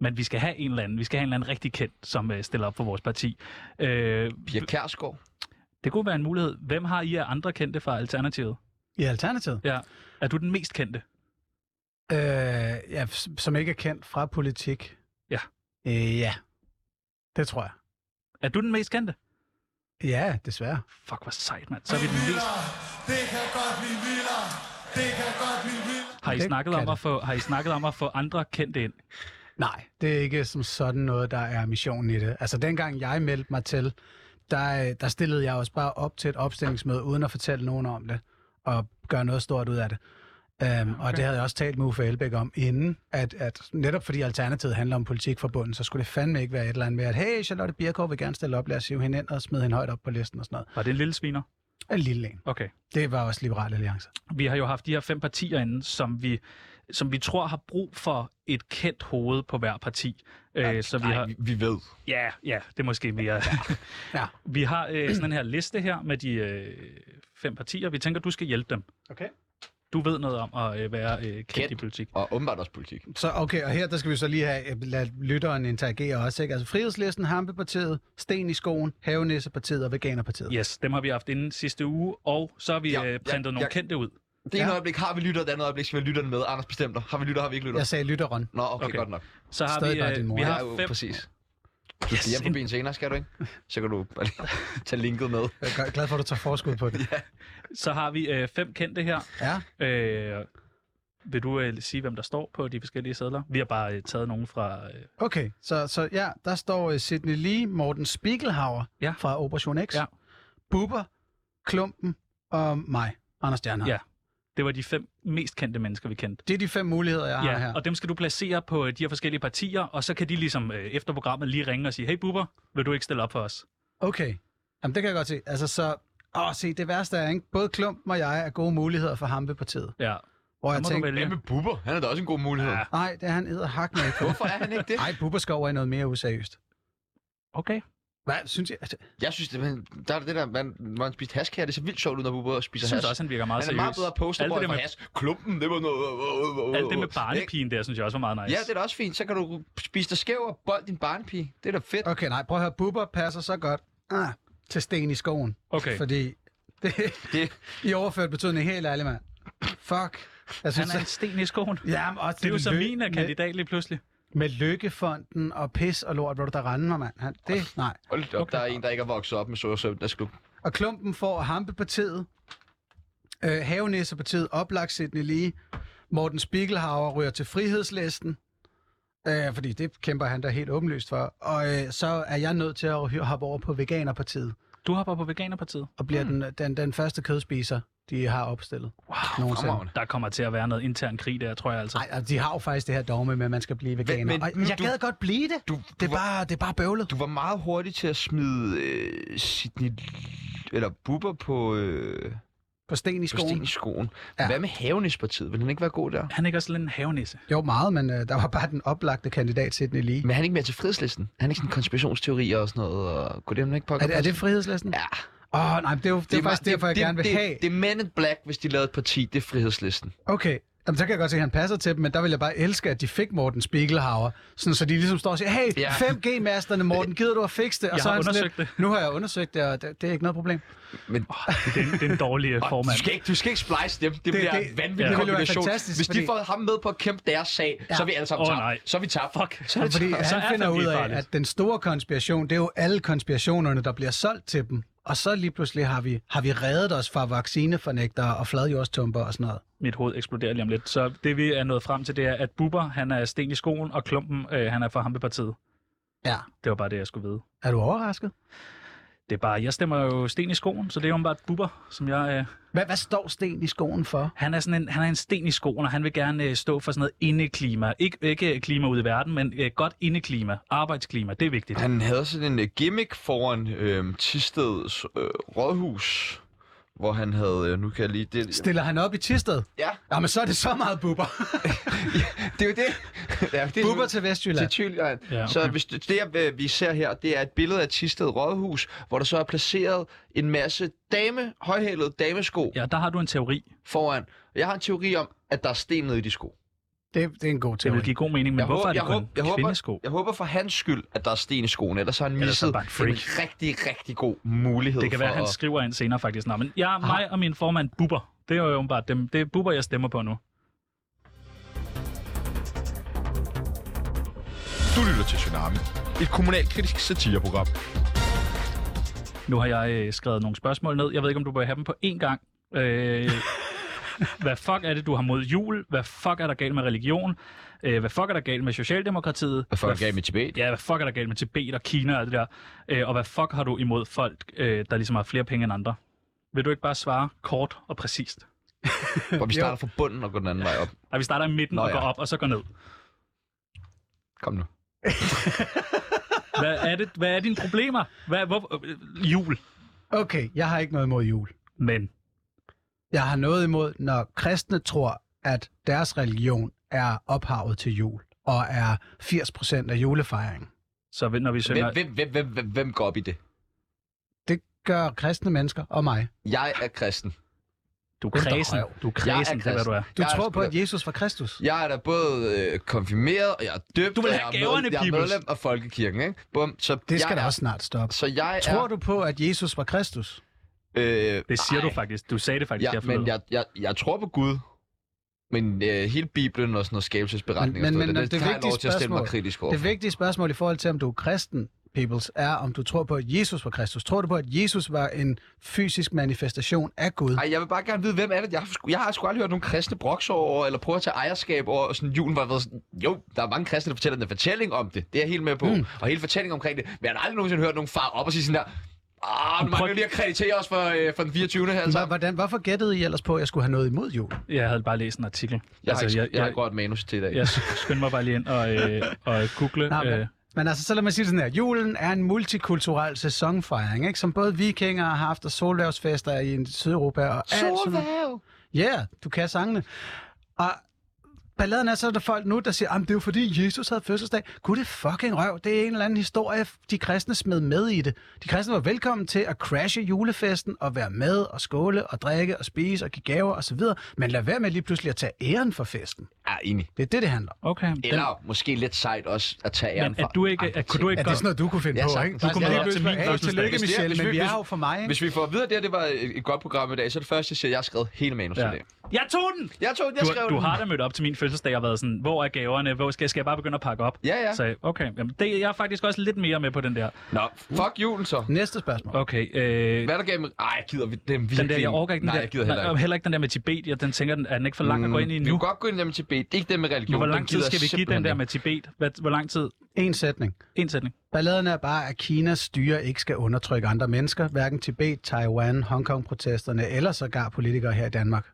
Men vi skal have en eller anden, vi skal have en eller anden rigtig kendt, som øh, stiller op for vores parti. Øh,
Pia Kærsgaard.
det kunne være en mulighed. Hvem har I af andre kendte fra Alternativet?
i alternativet,
Ja. Er du den mest kendte?
øh, ja, s- som ikke er kendt fra politik.
Ja.
Øh, ja, det tror jeg.
Er du den mest kendte?
Ja, desværre.
Fuck, hvor sejt, mand. Så er vi den mest... Har I,
Det
snakket
kan
om
det.
at få, har I snakket om at få andre kendte ind?
Nej, det er ikke som sådan noget, der er missionen i det. Altså, dengang jeg meldte mig til, der, øh, der stillede jeg også bare op til et opstillingsmøde, uden at fortælle nogen om det, og gøre noget stort ud af det. Um, okay. Og det havde jeg også talt med Uffe Elbæk om inden, at, at netop fordi Alternativet handler om politik fra bunden, så skulle det fandme ikke være et eller andet med, at hey, Charlotte Birkow vil gerne stille op, lad os hive hende ind og smide hende højt op på listen og sådan noget.
Var det en lille sviner?
En lille en.
Okay.
Det var også Liberal Alliance.
Vi har jo haft de her fem partier inde, som vi, som vi tror har brug for et kendt hoved på hver parti. Ja, så vi
Nej,
har,
vi, vi ved.
Ja, ja, det er måske mere. [LAUGHS]
Ja.
Vi har øh, sådan en her liste her med de øh, fem partier. Vi tænker, du skal hjælpe dem.
Okay.
Du ved noget om at øh, være øh, kendt, kendt i
Kendt.
politik.
Og åbenbart også politik.
Så okay, og her der skal vi så lige have, øh, lade lytteren interagere også, ikke? Altså Frihedslisten, Hampepartiet, Sten i skoen, Havenissepartiet og Veganerpartiet.
Yes, dem har vi haft inden sidste uge, og så har vi
Ja,
ja, øh,
ja,
printet ja, nogle
ja.
ja. kendte ud.
Det ene
Ja.
øjeblik har vi lyttet, og det andet øjeblik skal vi lytterne med. Anders bestemmer. Har vi lytter, har vi ikke lytter?
Jeg sagde lytteren.
Nå, okay,
Okay.
godt nok.
Så har
Stadig
vi, øh,
bare din mor.
vi
Ja,
har
jo,
fem...
præcis. Du skal
Yes,
hjem på
en-
byen senere, skal du ikke? Så kan du bare lige [LAUGHS] tage linket med.
Jeg er glad for, at du tager forskud
[LAUGHS]
på det.
Så har vi øh, fem kendte her.
Ja.
Øh, vil du øh, sige, hvem der står på de forskellige sædler? Vi har bare øh, taget nogen fra... Øh,
Okay, så, så ja, der står uh, Sidney Lee, Morten Spiegelhauer
Ja.
fra Operation X,
Ja.
Bubber, Klumpen og mig, Anders Stjernholm.
Ja. det var de fem mest kendte mennesker, vi kendte.
Det er de fem muligheder, jeg har her.
og dem skal du placere på øh, de her forskellige partier, og så kan de ligesom øh, efter programmet lige ringe og sige, hey Bubber, vil du ikke stille op for os?
Okay, Jamen, det kan jeg godt se. Altså så, åh, se, det værste er, ikke? både Klumpen og jeg er gode muligheder for Hampepartiet.
Ja,
Hvor
så
jeg
må du
tænkte,
vælge.
Hvad med Bubber? Han er da også en god mulighed.
Ja.
nej, det er han æder hak med.
[LAUGHS]
Hvorfor er han ikke det?
Ej, Bubber skal over i noget mere useriøst.
Okay.
Hvad synes altså, jeg?
Jeg synes, det, man, der er det der, man, når han spiste hash her, det er så vildt sjovt ud, når Bubber spiser
Jeg synes
hash.
også, han virker meget
han er meget
seriøs. Alt
bedre posterboy
det der
for
med-
hash. Klumpen, det var noget...
Alt det med barnepigen der, synes jeg også var meget nice.
Ja, det er da også fint. Så kan du spise dig skæv og bold din barnepige. Det er da fedt.
Okay, nej, prøv at høre, Bubber passer så godt ah, til sten i skoen.
Okay.
Fordi det,
Det-
det... [LAUGHS] i overført betydning, helt ærligt, mand. Fuck. Jeg
Han
synes,
er en sten i skoen.
Ja, men også
Det er jo
med
så
lø-
min af kandidat lige pludselig.
Med, med lykkefonden og pis og lort, hvor du der rende mig, mand. Han, det, nej.
Hold da op, okay. der er en, der ikke er vokset op med Soja Søvn. Der skulle
Og klumpen får Hampepartiet, øh, Havenæssepartiet, oplagt Sidney Lee, Morten Spiegelhauer ryger til frihedslisten, øh, fordi det kæmper han da helt åbenlyst for. Og øh, så er jeg nødt til at hy- hoppe over på Veganerpartiet.
Du hopper på Veganerpartiet?
Og bliver mm. den, den, den første kødspiser, de har opstillet. Wow,
Fremragende. Der kommer til at være noget intern krig der, tror jeg altså.
Nej, de har jo faktisk det her dogme med, at man skal blive veganer. Men, men, og jeg gad godt blive det.
Du,
det, er bare, det er bare bøvlet.
Du var meget hurtig til at smide øh, Sidney... Eller Bubber på... Øh,
på sten
På
i skoen.
sten i skoen. Ja. Hvad med havenispartiet? Vil han ikke være god der?
Han er ikke også lidt en havenisse.
Jo, meget, men øh, der var bare den oplagte kandidat Sidney Lee.
Men han er ikke mere til frihedslisten. Han er ikke sådan konspirationsteorier og sådan noget. Og... Kunne det ham ikke
Er,
pakke
det- er det frihedslisten?
Ja.
Åh, oh, nej, men det er jo det er faktisk
meget-
derfor, jeg
det,
gerne vil
det,
have.
Det, det er Men in Black, hvis de lavede et parti. Det er frihedslisten.
Okay, Jamen, så kan jeg godt se, at han passer til dem, men der vil jeg bare elske, at de fik Morten Spiegelhauer. Sådan, så de ligesom står og siger, hey,
Ja.
ja. 5G-masterne, Morten, gider du at fikse det? Og
Jeg
så er
har
han sådan
undersøgt
lidt, Nu har jeg undersøgt det, og det, det er ikke noget problem.
Men...
Oh, det, er en, det er en dårlig øh,
Du
formand.
skal, ikke, du skal ikke splice dem. Det, det
Det-
bliver
det-
en vanvittig
det
ja.
ville
være
kombination.
fantastisk,
Hvis de
fordi-
får ham med på at kæmpe deres sag, ja. så er vi alle sammen
Åh,
tabt.
nej.
Så er vi tabt. Fuck. Så er
Ja,
vi
fordi
tabt.
han
er
finder
fandme
ud af,
farligt.
at den store konspiration, det er jo alle konspirationerne, der bliver solgt til dem. Og så lige pludselig har vi, har vi reddet os fra vaccinefornægtere og fladjordstumper og sådan noget.
Mit hoved eksploderer lige om lidt. Så det vi er nået frem til, det er, at Bubber, han er sten i skoen, og Klumpen, øh, han er fra Hampepartiet.
Ja.
Det var bare det, jeg skulle vide.
Er du overrasket?
Det er bare, jeg stemmer jo sten i skoen, så det er jo bare Bubber, som jeg... Øh,
Hvad, hvad står Sten i skoen for?
Han er, sådan en, han er en sten i skoen, og han vil gerne øh, stå for sådan noget indeklima. Ikke, ikke klima ude i verden, men øh, godt indeklima. Arbejdsklima, det er vigtigt.
Han havde sådan en øh, gimmick foran øh, Tisteds øh, rådhus, hvor han havde... Øh, nu kan jeg lige... Det,
Stiller han op i Tisted?
Ja.
Jamen, så er det så
[LAUGHS]
meget buber.
det er jo det. ja, det er
buber til Vestjylland.
Til Tyskland.
Ja, okay.
Ja, okay. Så hvis det, det øh, vi ser her, det er et billede af Tisted Rådhus, hvor der så er placeret en masse dame, højhælede damesko
Ja, der har du en teori.
foran. Jeg har en teori om, at der er sten nede i de sko.
Det, det er en god
Det
teori.
vil give god mening, men
jeg
hvorfor
håber,
er det
jeg, håber,
kun
jeg, håber,
kvindesko?
jeg håber for hans skyld, at der er sten i skoen, ellers har han
Ellers er han
misset
bare en
en
freak.
rigtig, rigtig god mulighed
Det kan
for
være, at han
at...
skriver ind senere faktisk. Nå, men jeg, mig og min formand Bubber, det er jo åbenbart dem. Det er Bubber, jeg stemmer på nu.
Du lytter til Tsunami, et kommunalkritisk satireprogram.
Nu har jeg øh, skrevet nogle spørgsmål ned. Jeg ved ikke, om du bør have dem på én gang.
[LAUGHS]
Øh, hvad fuck er det, du har mod jul? Hvad fuck er der galt med religion? Øh, hvad fuck er der galt med Socialdemokratiet?
Hvad fuck gav med Tibet?
Ja, hvad fuck er der galt med Tibet og Kina og alt det der? Øh, og hvad fuck har du imod folk, øh, der ligesom har flere penge end andre? Vil du ikke bare svare kort og præcist?
Hvor vi starter fra bunden og går den anden vej op.
Nej, vi starter i midten
Nå,
Nå, og går
ja.
op, og så går ned.
Kom nu.
Hvad er, det, hvad er dine problemer? Hvad, hvor, øh, jul.
Okay, jeg har ikke noget imod jul.
Men
Jeg har noget imod, når kristne tror, at deres religion er ophavet til jul, og er 80% af julefejringen.
så vil- når vi synger...
Hvem, hvem, hvem, hvem, hvem, hvem går op i det?
Det gør kristne mennesker og mig.
Jeg er kristen.
Du er
Hvem der
kredsen.
røv?
Du er kredsen, det er, hvad du er.
Du
Jeg er
tror på,
sgu da-
at Jesus var Kristus?
Jeg er da både øh, konfirmeret, og jeg er døbt,
Du vil
og
have
jeg, er
gaverne,
jeg er
Pibels.
medlem af Folkekirken, ikke? Bum. Så
Det
jeg
skal da
er,
også snart stoppe.
Så jeg
Tror
er...
du på, at Jesus var Kristus?
Øh,
Det siger
ej,
du faktisk. Du sagde det faktisk
Ja,
her
men
forleden.
jeg, jeg, jeg tror på Gud. Men øh, hele Bibelen og sådan noget skabelsesberetning
Men-
og
men-
sådan
men
noget,
det
har jeg
vigtige
lov til at stille mig
spørgsmål-
kritisk over.
Det vigtige spørgsmål i forhold til, om du er kristen, peoples, er, om du tror på, at Jesus var Kristus. Tror du på, at Jesus var en fysisk manifestation af Gud?
Ej, jeg vil bare gerne vide, hvem er det? Jeg har, sgu- jeg har sgu aldrig hørt nogen kristne brokse over, eller prøve at tage ejerskab over og sådan julen, hvor jeg har været sådan, jo, der er mange kristne, der fortæller den fortælling om det. Det er jeg helt med på.
Hmm.
Mm. Og hele fortællingen omkring det. Men jeg har aldrig nogensinde hørt nogen far op og sige sådan der, ah, nu mangler vi lige at kreditere os for, øh, for den 24. her.
Hva-
Altså.
Hvordan, hvorfor gættede I ellers på, at jeg skulle have noget imod jul?
Jeg havde bare læst en artikel. Altså,
Jeg har, ikke, jeg, jeg, har
jeg,
godt manus til i dag.
jeg, skyndte mig bare lige ind og,
[LAUGHS]
øh, og google.
Nej, men,
øh,
men altså, så lad mig sige det sådan her. Julen er en multikulturel sæsonfejring, ikke? som både vikinger har haft, og solværvsfester i Sydeuropa. Og alt sådan noget. Ja, yeah, du kan sangene. Og balladen er så, at der er folk nu, der siger, at det er jo fordi Jesus havde fødselsdag. Gud, det er fucking røv. Det er en eller anden historie, de kristne smed med i det. De kristne var velkommen til at crashe julefesten og være med og skåle og drikke og spise og give gaver osv. Men lad være med lige pludselig at tage æren for festen.
Ja, enig.
Det er det, det handler om.
øh, Okay.
Eller måske lidt sejt også at tage æren
Men er
fra
du ikke...
andre
Er, kunne du
Ja,
ikke
det er
godt...
sådan noget, du kunne finde
Ja,
på,
sagtens.
ikke?
Du
kunne møde op til min
Hey,
fødselsdag.
tillykke,
Hvis det er-
Michelle,
hvis
men
vi-
vi er
hvis-
jo for mig, ikke?
Hvis vi får at vide, at det, her, det var et et godt program i dag, så er det første, jeg siger, at jeg har skrevet hele manus ja.
Ja.
i dag.
Jeg tog den!
Jeg tog den, jeg skrev
Du, du
den.
har da mødt op til min fødselsdag og været sådan, hvor er gaverne, hvor skal, skal jeg bare begynde at pakke op?
Ja, ja.
Så, okay, jamen, det, jeg er faktisk også lidt mere med på den der.
Nå, fuck julen så.
Næste spørgsmål.
Okay, øh,
Hvad er der gav dem? Ej, gider vi dem virkelig?
den der, jeg overgår ikke den
Nej,
der,
jeg gider heller
nej,
ikke.
heller ikke den der med Tibet, jeg den tænker, den, er den ikke for lang at gå ind i nu?
Mm, Vi kan godt gå ind i dem til B. Det er ikke dem med religion.
Men hvor
Dem
lang tid
gider
skal
jeg
vi give
simpelthen
den der
ikke.
med Tibet? Hvad, hvor lang tid?
En sætning.
En sætning.
Balladen er bare, at Kinas styre ikke skal undertrykke andre mennesker, hverken Tibet, Taiwan, Hongkong-protesterne eller sågar politikere her i Danmark.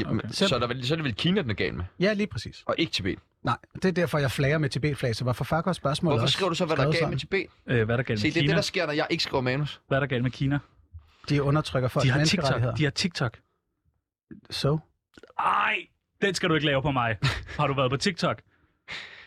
Jamen, så, er der, vel- så er det vel Kina, den er gal med,
Ja, lige præcis.
og ikke Tibet.
Nej, det er derfor, jeg flager med Tibet-flag, så hvorfor fuck var spørgsmålet
Hvorfor
også
skriver du så, hvad der er
skrevet
galt med
sådan?
Tibet?
Øh, hvad er der galt
Se,
med
det er
Kina?
det, der sker, når jeg ikke skriver manus.
Hvad er der galt med Kina?
De undertrykker folks
De har TikTok.
menneskerettigheder.
De har TikTok.
Så?
Ej, den skal du ikke lave på
[LAUGHS]
mig. Har du været på TikTok?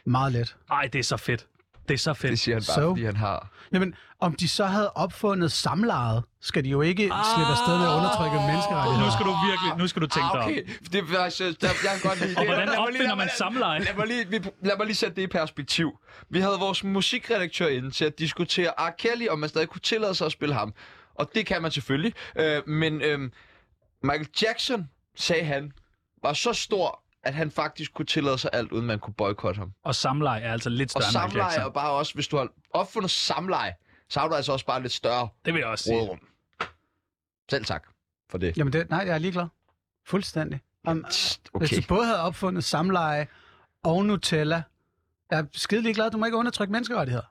Meget let.
Ej, det er så fedt. Det er så fedt.
Det siger han bare,
So?
fordi han har...
Jamen, om de så havde opfundet samlejet, skal de jo ikke ah, slippe afsted med at undertrykke menneskerettigheder.
Nu skal du virkelig, nu skal du tænke dig
Ah,
om.
okay. Det er faktisk... Der, jeg kan godt lide det.
Og hvordan
Lad mig lige-
opfinder
lad mig-
man samleje?
Lad mig, lige, vi, lad mig lige sætte det i perspektiv. Vi havde vores musikredaktør inde til at diskutere R. Kelly, om man stadig kunne tillade sig at spille ham. Og det kan man selvfølgelig. Øh, men øh, Michael Jackson, sagde han, var så stor, at han faktisk kunne tillade sig alt, uden man kunne boykotte ham.
Og samleje er altså lidt
Og
større end Michael
samleje er
Jackson.
bare også, hvis du har opfundet samleje, så har du altså også bare lidt større
Det vil jeg også sige.
rådrum. Selv tak for det.
Jamen, det, nej, jeg er ligeglad. Fuldstændig. Om, okay. Hvis
Okay.
du både havde opfundet samleje og Nutella, jeg er skide ligeglad, du må ikke undertrykke menneskerettigheder.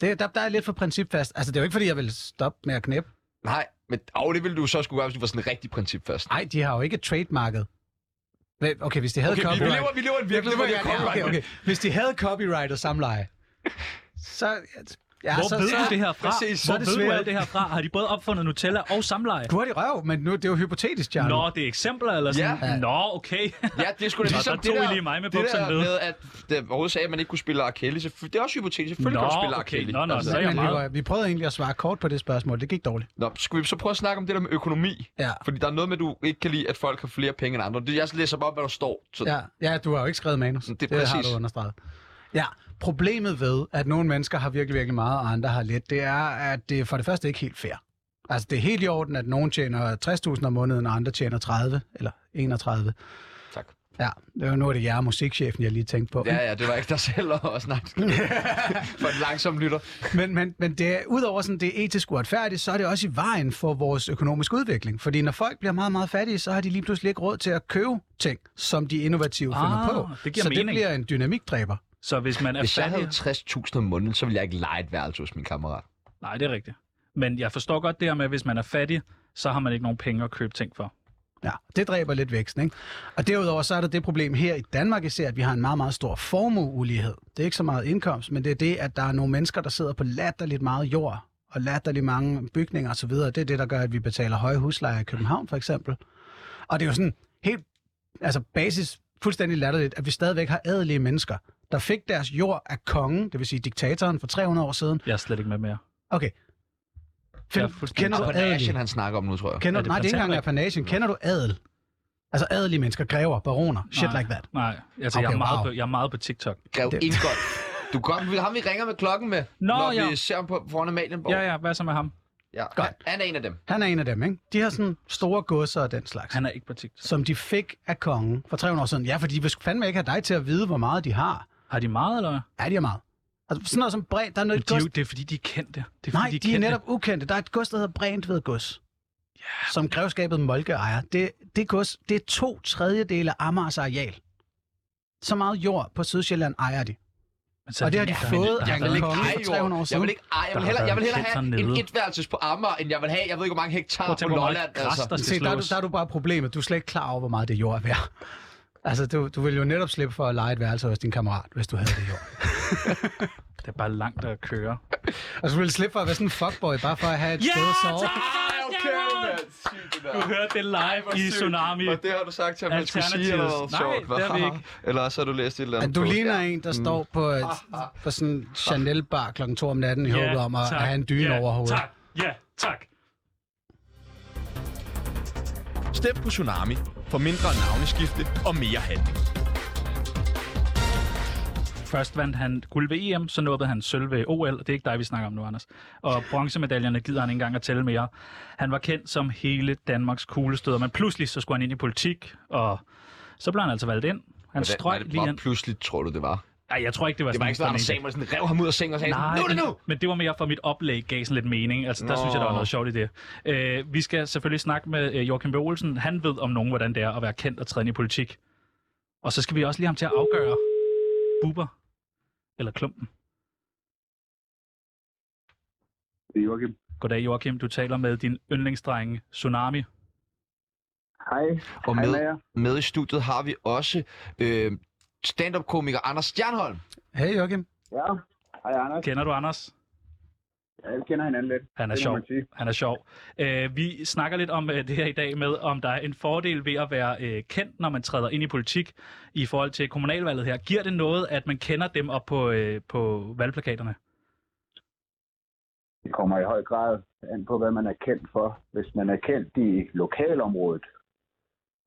Det, der, der er lidt for principfast. Altså, det er jo ikke, fordi jeg vil stoppe med at knæppe.
Nej, men og det ville du så skulle gøre, hvis du var sådan en rigtig principfast.
Nej, de har jo ikke trademarket. Hvad- Okay, hvis de havde
Okay, vi,
copyright... ligesom-
vi, lever, vi lever i en virkelighed, hvor det er
Ja, okay,
copyright.
okay. Hvis de havde copyrightet samleje, så... Ja,
Hvor
så,
ved
så,
du det her fra?
Altså, præcis.
Så er
Hvor
det
ved du
svært.
alt det her fra? Har de både opfundet Nutella og samleje?
Du har det i røv, men nu, det er jo hypotetisk, Jarno.
Nå, det er eksempler eller sådan?
Ja.
Nå, okay.
Ja, det er sgu da
Nå,
ligesom
der
det
tog I
der,
lige mig med
det
bukserne
der
nede.
med, at det overhovedet sagde, at man ikke kunne spille R. Kelly. Selvfø- Det er også hypotetisk. Selvfølgelig
Nå,
kan du altså, spille R.
okay.
Kelly.
Nå, nå, så er jeg
Men
meget-
Leroy, vi prøvede egentlig at svare kort på det spørgsmål. Det gik dårligt.
Nå, skal vi så prøve at snakke om det der med økonomi?
Ja.
Fordi der er noget med, at du ikke kan lide, at folk har flere penge end andre. Det, jeg læser bare op, hvad der står. Så
Ja, ja, du har jo ikke skrevet manus.
Det er
har
præcis.
du understreget. Ja, problemet ved, at nogle mennesker har virkelig, virkelig meget, og andre har lidt, det er, at det for det første ikke er helt fair. Altså, det er helt i orden, at nogen tjener 60.000 om måneden, og andre tjener 30 eller 31.
Tak.
Ja, det var nu er det jer, musikchefen, jeg lige tænkte [LAUGHS] på.
Ja, ja, det var ikke dig selv at snakke [LAUGHS] for en langsom lytter.
Men, men, men det er, udover sådan, det er etisk uretfærdigt, så er det også i vejen for vores økonomiske udvikling. Fordi når folk bliver meget, meget fattige, så har de lige pludselig ikke råd til at købe ting, som de innovative finder
Ah,
på.
det giver
så det
mening.
bliver en dynamikdræber.
Så hvis man er
Hvis jeg
fattig...
havde 60.000 om måneden, så ville jeg ikke lege et værelse hos min kammerat.
Nej, det er rigtigt. Men jeg forstår godt det her med, at hvis man er fattig, så har man ikke nogen penge at købe ting for.
Ja, det dræber lidt væksten, ikke? Og derudover så er der det problem her i Danmark især, at vi har en meget, meget stor formueulighed. Det er ikke så meget indkomst, men det er det, at der er nogle mennesker, der sidder på latterligt meget jord og latterligt mange bygninger osv. Det er det, der gør, at vi betaler høje huslejer i København for eksempel. Og det er jo sådan helt, altså basis fuldstændig latterligt, at vi stadigvæk har adelige mennesker, der fik deres jord af kongen, det vil sige diktatoren for 300 år siden.
Jeg er slet ikke med mere.
Okay.
Jeg er
Find,
fuldstændig
kender
Og
du
på
adelige?
Nation, han snakker om nu, tror jeg.
Kender
Er
du,
det
nej, det er ikke engang
Frans
appanation. Kender du adel? Altså adelige mennesker, grever, baroner, shit
Nej.
like that.
Nej, altså okay, jeg, er
Okay,
meget
wow.
på, jeg er meget på TikTok.
Grev
Det-
Ingolf. Du kom, ham vi ringer med klokken med,
Nå,
når
ja.
vi ser ham på, foran Amalienborg.
Ja, ja, hvad så med ham?
ja.
Godt.
Han er en af dem.
Han er en af dem, ikke? De har sådan store godser og den slags,
Han er ikke på TikTok.
som de fik af kongen for 300 år siden. Ja, for de vil sgu fandme ikke have dig til at vide, hvor meget de har.
Har de meget, eller hvad?
Ja, de har meget. Altså sådan noget som Brent, der er noget
De, er
gods...
jo- det er fordi, de er kendte. Det er,
Nej,
fordi,
de er
kendte.
netop ukendte. Der er et gods, der hedder Brent ved gods. Yeah. Som grevskabet Molke ejer. Det, det gods, det er to tredjedele af Amagers areal. Så meget jord på Sydsjælland ejer de.
Men så er
og det har de
der-
fået
der-
af
Jeg
der-
vil ikke
kongen
eje
for 300 år
jord. Jeg
siden.
vil ikke eje. Jeg vil
Der
hellere,
har
jeg vil
været
hellere
en
have
sensor
en
nede.
etværelses på Amager, end jeg vil have, jeg ved ikke, hvor mange
Prøv
hektar
at
på
tænke, hvor meget
Lolland.
græs, der
Altså.
skal
Se, der, er du,
slås.
der er du bare problemet. Du er slet ikke klar over, hvor meget det jord er værd. Altså, du, du ville jo netop slippe for at lege et værelse hos din kammerat, hvis du havde det jord.
Det er bare langt at køre.
Og så ville du slippe for at være sådan en fuckboy, bare for at have et sted at sove.
Ej, okay, mand. Sygt, det der.
Du hørte det live
Hvor
i
sygt.
Tsunami.
Og det har du sagt til ham, at han skulle sige, eller noget
Alternatives. Nej,
sjovt. hva?
det har vi ikke.
Eller så har du læst et eller
At
andet.
du
på-
ligner en, der står på, et, på sådan en Chanel-bar klokken 2 om natten i håbet om at, at have en dyne
ja,
over hovedet.
Tak, ja, tak.
Stem på Tsunami for mindre navneskifte og mere handling.
Først vandt han guld ved EM, så nåede han sølv ved OL. Det er ikke dig, vi snakker om nu, Anders. Og bronzemedaljerne gider han ikke engang at tælle mere. Han var kendt som hele Danmarks kuglestøder, men pludselig så skulle han ind i politik, og så blev han altså valgt ind. Han
Hvordan-
strøg
var det
lige
bare
ind.
Pludseligt tror du, det var.
Nej, jeg tror ikke, det var
Det
sådan
var ikke sådan,
han
Anders
mente
Samuelsen rev ham ud af sengen og sagde,
Nej,
nu er det nu!
Men det var mere for mit oplæg, gav sådan lidt mening. Altså, der Nå.
Nå.
synes jeg, der var noget sjovt i det. Øh, vi skal selvfølgelig snakke med øh, Joachim B. Olsen. Han ved om nogen, hvordan det er at være kendt og træde ind i politik. Og så skal vi også lige have ham til at afgøre buber eller klumpen.
Det er Joachim.
Goddag, Joachim. Du taler med din yndlingsdreng Tsunami.
Hej.
Og
Hej
med,
med jer.
med i studiet har vi også øh, stand-up-komiker Anders Stjernholm.
Hey Joachim.
Ja, hej Anders.
Kender du Anders?
Ja, vi kender hinanden lidt.
Han er
Det må
sjov.
man sige.
Han er sjov. Øh, vi snakker lidt om øh, det her i dag med, om der er en fordel ved at være øh, kendt, når man træder ind i politik i forhold til kommunalvalget her. Giver det noget, at man kender dem op på, øh, på valgplakaterne?
Det kommer i høj grad an på, hvad man er kendt for. Hvis man er kendt i lokalområdet,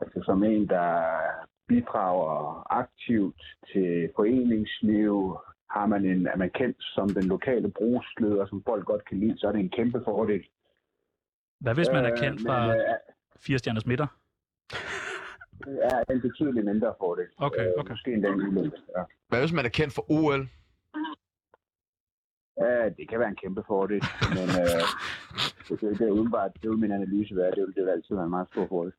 altså som en, der bidrager aktivt til foreningsliv, har man en, er man kendt som den lokale brugsleder, som folk godt kan lide, så er det en kæmpe fordel.
Hvad hvis man er
Øh,
kendt
men,
fra
øh,
4 stjerners midter?
Det er en betydelig mindre fordel.
Okay,
okay. Måske endda en ulempe. Ja.
Hvad hvis man er kendt for OL?
Ja, det kan være en kæmpe fordel, men øh, det, det, det er udenbart, det vil min analyse være, det vil, det vil altid være en meget stor fordel.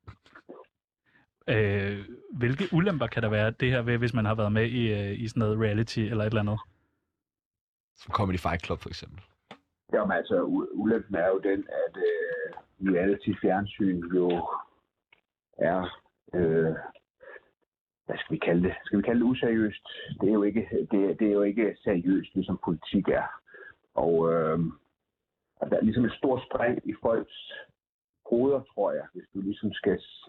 Øh, hvilke ulemper kan der være det her ved, hvis man har været med i, øh, i sådan noget reality eller et eller andet?
Som Comedy Fight Club for eksempel.
Jamen altså, u- ulempen er jo den, at øh, reality fjernsyn jo er, øh, hvad skal vi kalde det? Skal vi kalde det useriøst? Det er jo ikke, det, det er jo ikke seriøst, ligesom politik er. Og øh, og der er ligesom et stort spring i folks hoveder, tror jeg, hvis du ligesom skal s-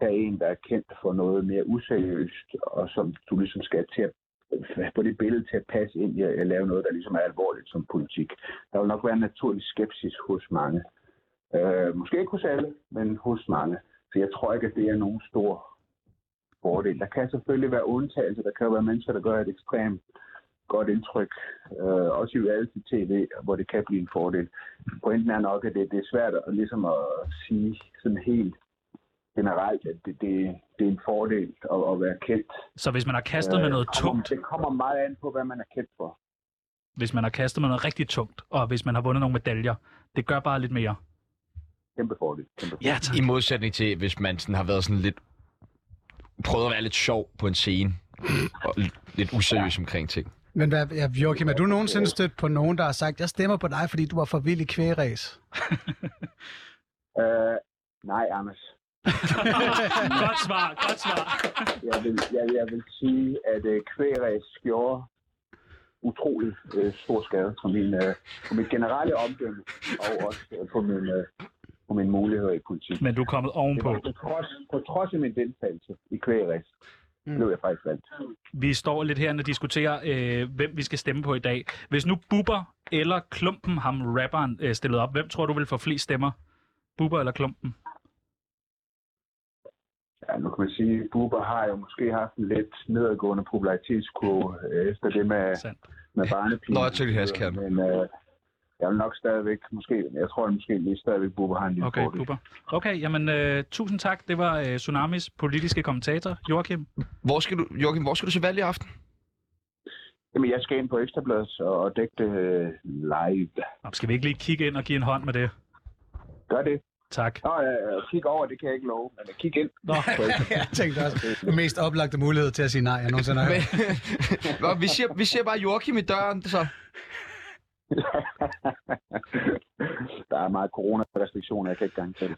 tage en, der er kendt for noget mere useriøst, og som du ligesom skal til at på det billede til at passe ind i at at lave noget, der ligesom er alvorligt som politik. Der vil nok være en naturlig skepsis hos mange. Øh, måske ikke hos alle, men hos mange. Så jeg tror ikke, at det er nogen stor fordel. Der kan selvfølgelig være undtagelser. Der kan jo være mennesker, der gør et ekstremt godt indtryk. Øh, også i reality-tv, hvor det kan blive en fordel. Pointen er nok, at det, det er svært at, ligesom at sige sådan helt generelt, at det, det, det er en fordel at, at være kendt.
Så hvis man har kastet med
Øh,
noget
det kommer-
tungt,
Det kommer meget an på, hvad man er kendt for.
hvis man har kastet med noget rigtig tungt, og hvis man har vundet nogle medaljer, det gør bare lidt mere.
Kæmpe fordel. Kæmpe
fordel. Ja, tak.
Altså, I modsætning til, hvis man sådan har været sådan lidt... Prøvet at være lidt sjov på en scene. Og l- lidt useriøs omkring ting.
Men hvad, ja, Joachim, er du nogensinde stødt på nogen, der har sagt, jeg stemmer på dig, fordi du var for vild i
[LAUGHS]
kvægeræs?
Øh, nej, Anders.
godt svar, godt svar.
jeg, vil, jeg, jeg vil sige, at øh, kvægræs gjorde utrolig øh, stor skade på, min, øh, på mit generelle omdømme, og også øh, på, min, øh, på mine muligheder i politik.
Men du er kommet ovenpå.
Det var På trods, på trods af min deltagelse i kvægræs, mm. blev jeg faktisk valgt.
Vi står lidt herinde og diskuterer, øh, hvem vi skal stemme på i dag. Hvis nu Bubber eller Klumpen, ham rapperen, øh, stillede op, hvem tror du vil få flest stemmer? Bubber eller Klumpen?
Ja, nu kan man sige, at Bubber har jo måske haft en lidt nedadgående popularitetskurve øh, efter det med, med barnepigen.
Nå, jeg tænkte, jeg skal have
Men øh, jeg vil nok stadigvæk, måske, jeg tror måske lige stadigvæk, Bubber har en lille
Okay,
fordel.
Bubber. Okay, jamen øh, tusind tak. Det var øh, Tsunamis politiske kommentator, Joachim.
Hvor skal du, Joachim, hvor skal du se valg i aften?
Jamen, jeg skal ind på Ekstrabladet og dække det øh, live.
Nå, Skal vi ikke lige kigge ind og give en hånd med det?
Gør det.
Tak.
Nå, øh, kig over, det kan jeg ikke love, men øh, kig ind. [LAUGHS]
Nå.
jeg tænkte også, den mest oplagte mulighed til at sige nej, jeg nogensinde har hørt.
[LAUGHS] Nå, vi, siger, vi siger bare Joachim i døren, så. [LAUGHS]
Der er meget coronarestriktioner, jeg kan ikke garantere det.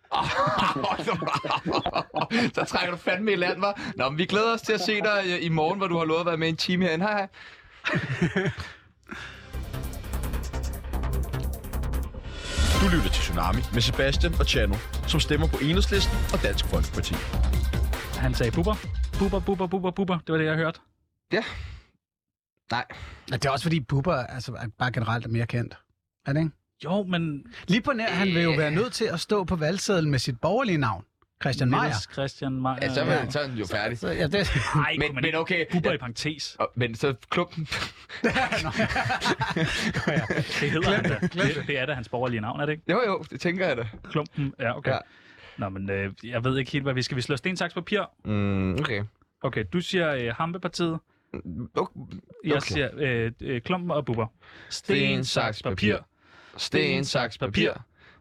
så trækker du fandme i land, var. Nå, men vi glæder os til at se dig øh, i morgen, hvor du har lovet at være med i en time herinde. Hej, hej.
Du lytter til Tsunami med Sebastian og Chano, som stemmer på Enhedslisten og Dansk Folkeparti.
Han sagde Bubber. Bubber, Bubber, Bubber, Bubber. Det var det, jeg hørte.
Ja. Nej.
Men det er også fordi Bubber altså, er bare generelt er mere kendt. Er det ikke?
Jo, men...
Lige på nær, han vil jo være nødt til at stå på valgsedlen med sit borgerlige navn. Christian Meier.
Christian Meier.
Ja, så, er, så er den jo færdig.
så- ja, det-
Nej,
men, men okay.
Bubber i parentes.
Men så klubben.
Det hedder han da. Det, det er da hans borgerlige navn, er det ikke?
Jo, jo, det tænker jeg da.
Klumpen, ja, okay. Ja. Nå, men øh, jeg ved ikke helt, hvad vi skal. Vi slå sten, saks, papir.
Mm, okay.
Okay, du siger øh, Hampepartiet.
Okay.
Jeg siger øh, øh, Klumpen og Bubber. Sten, saks, papir. Sten, saks, papir.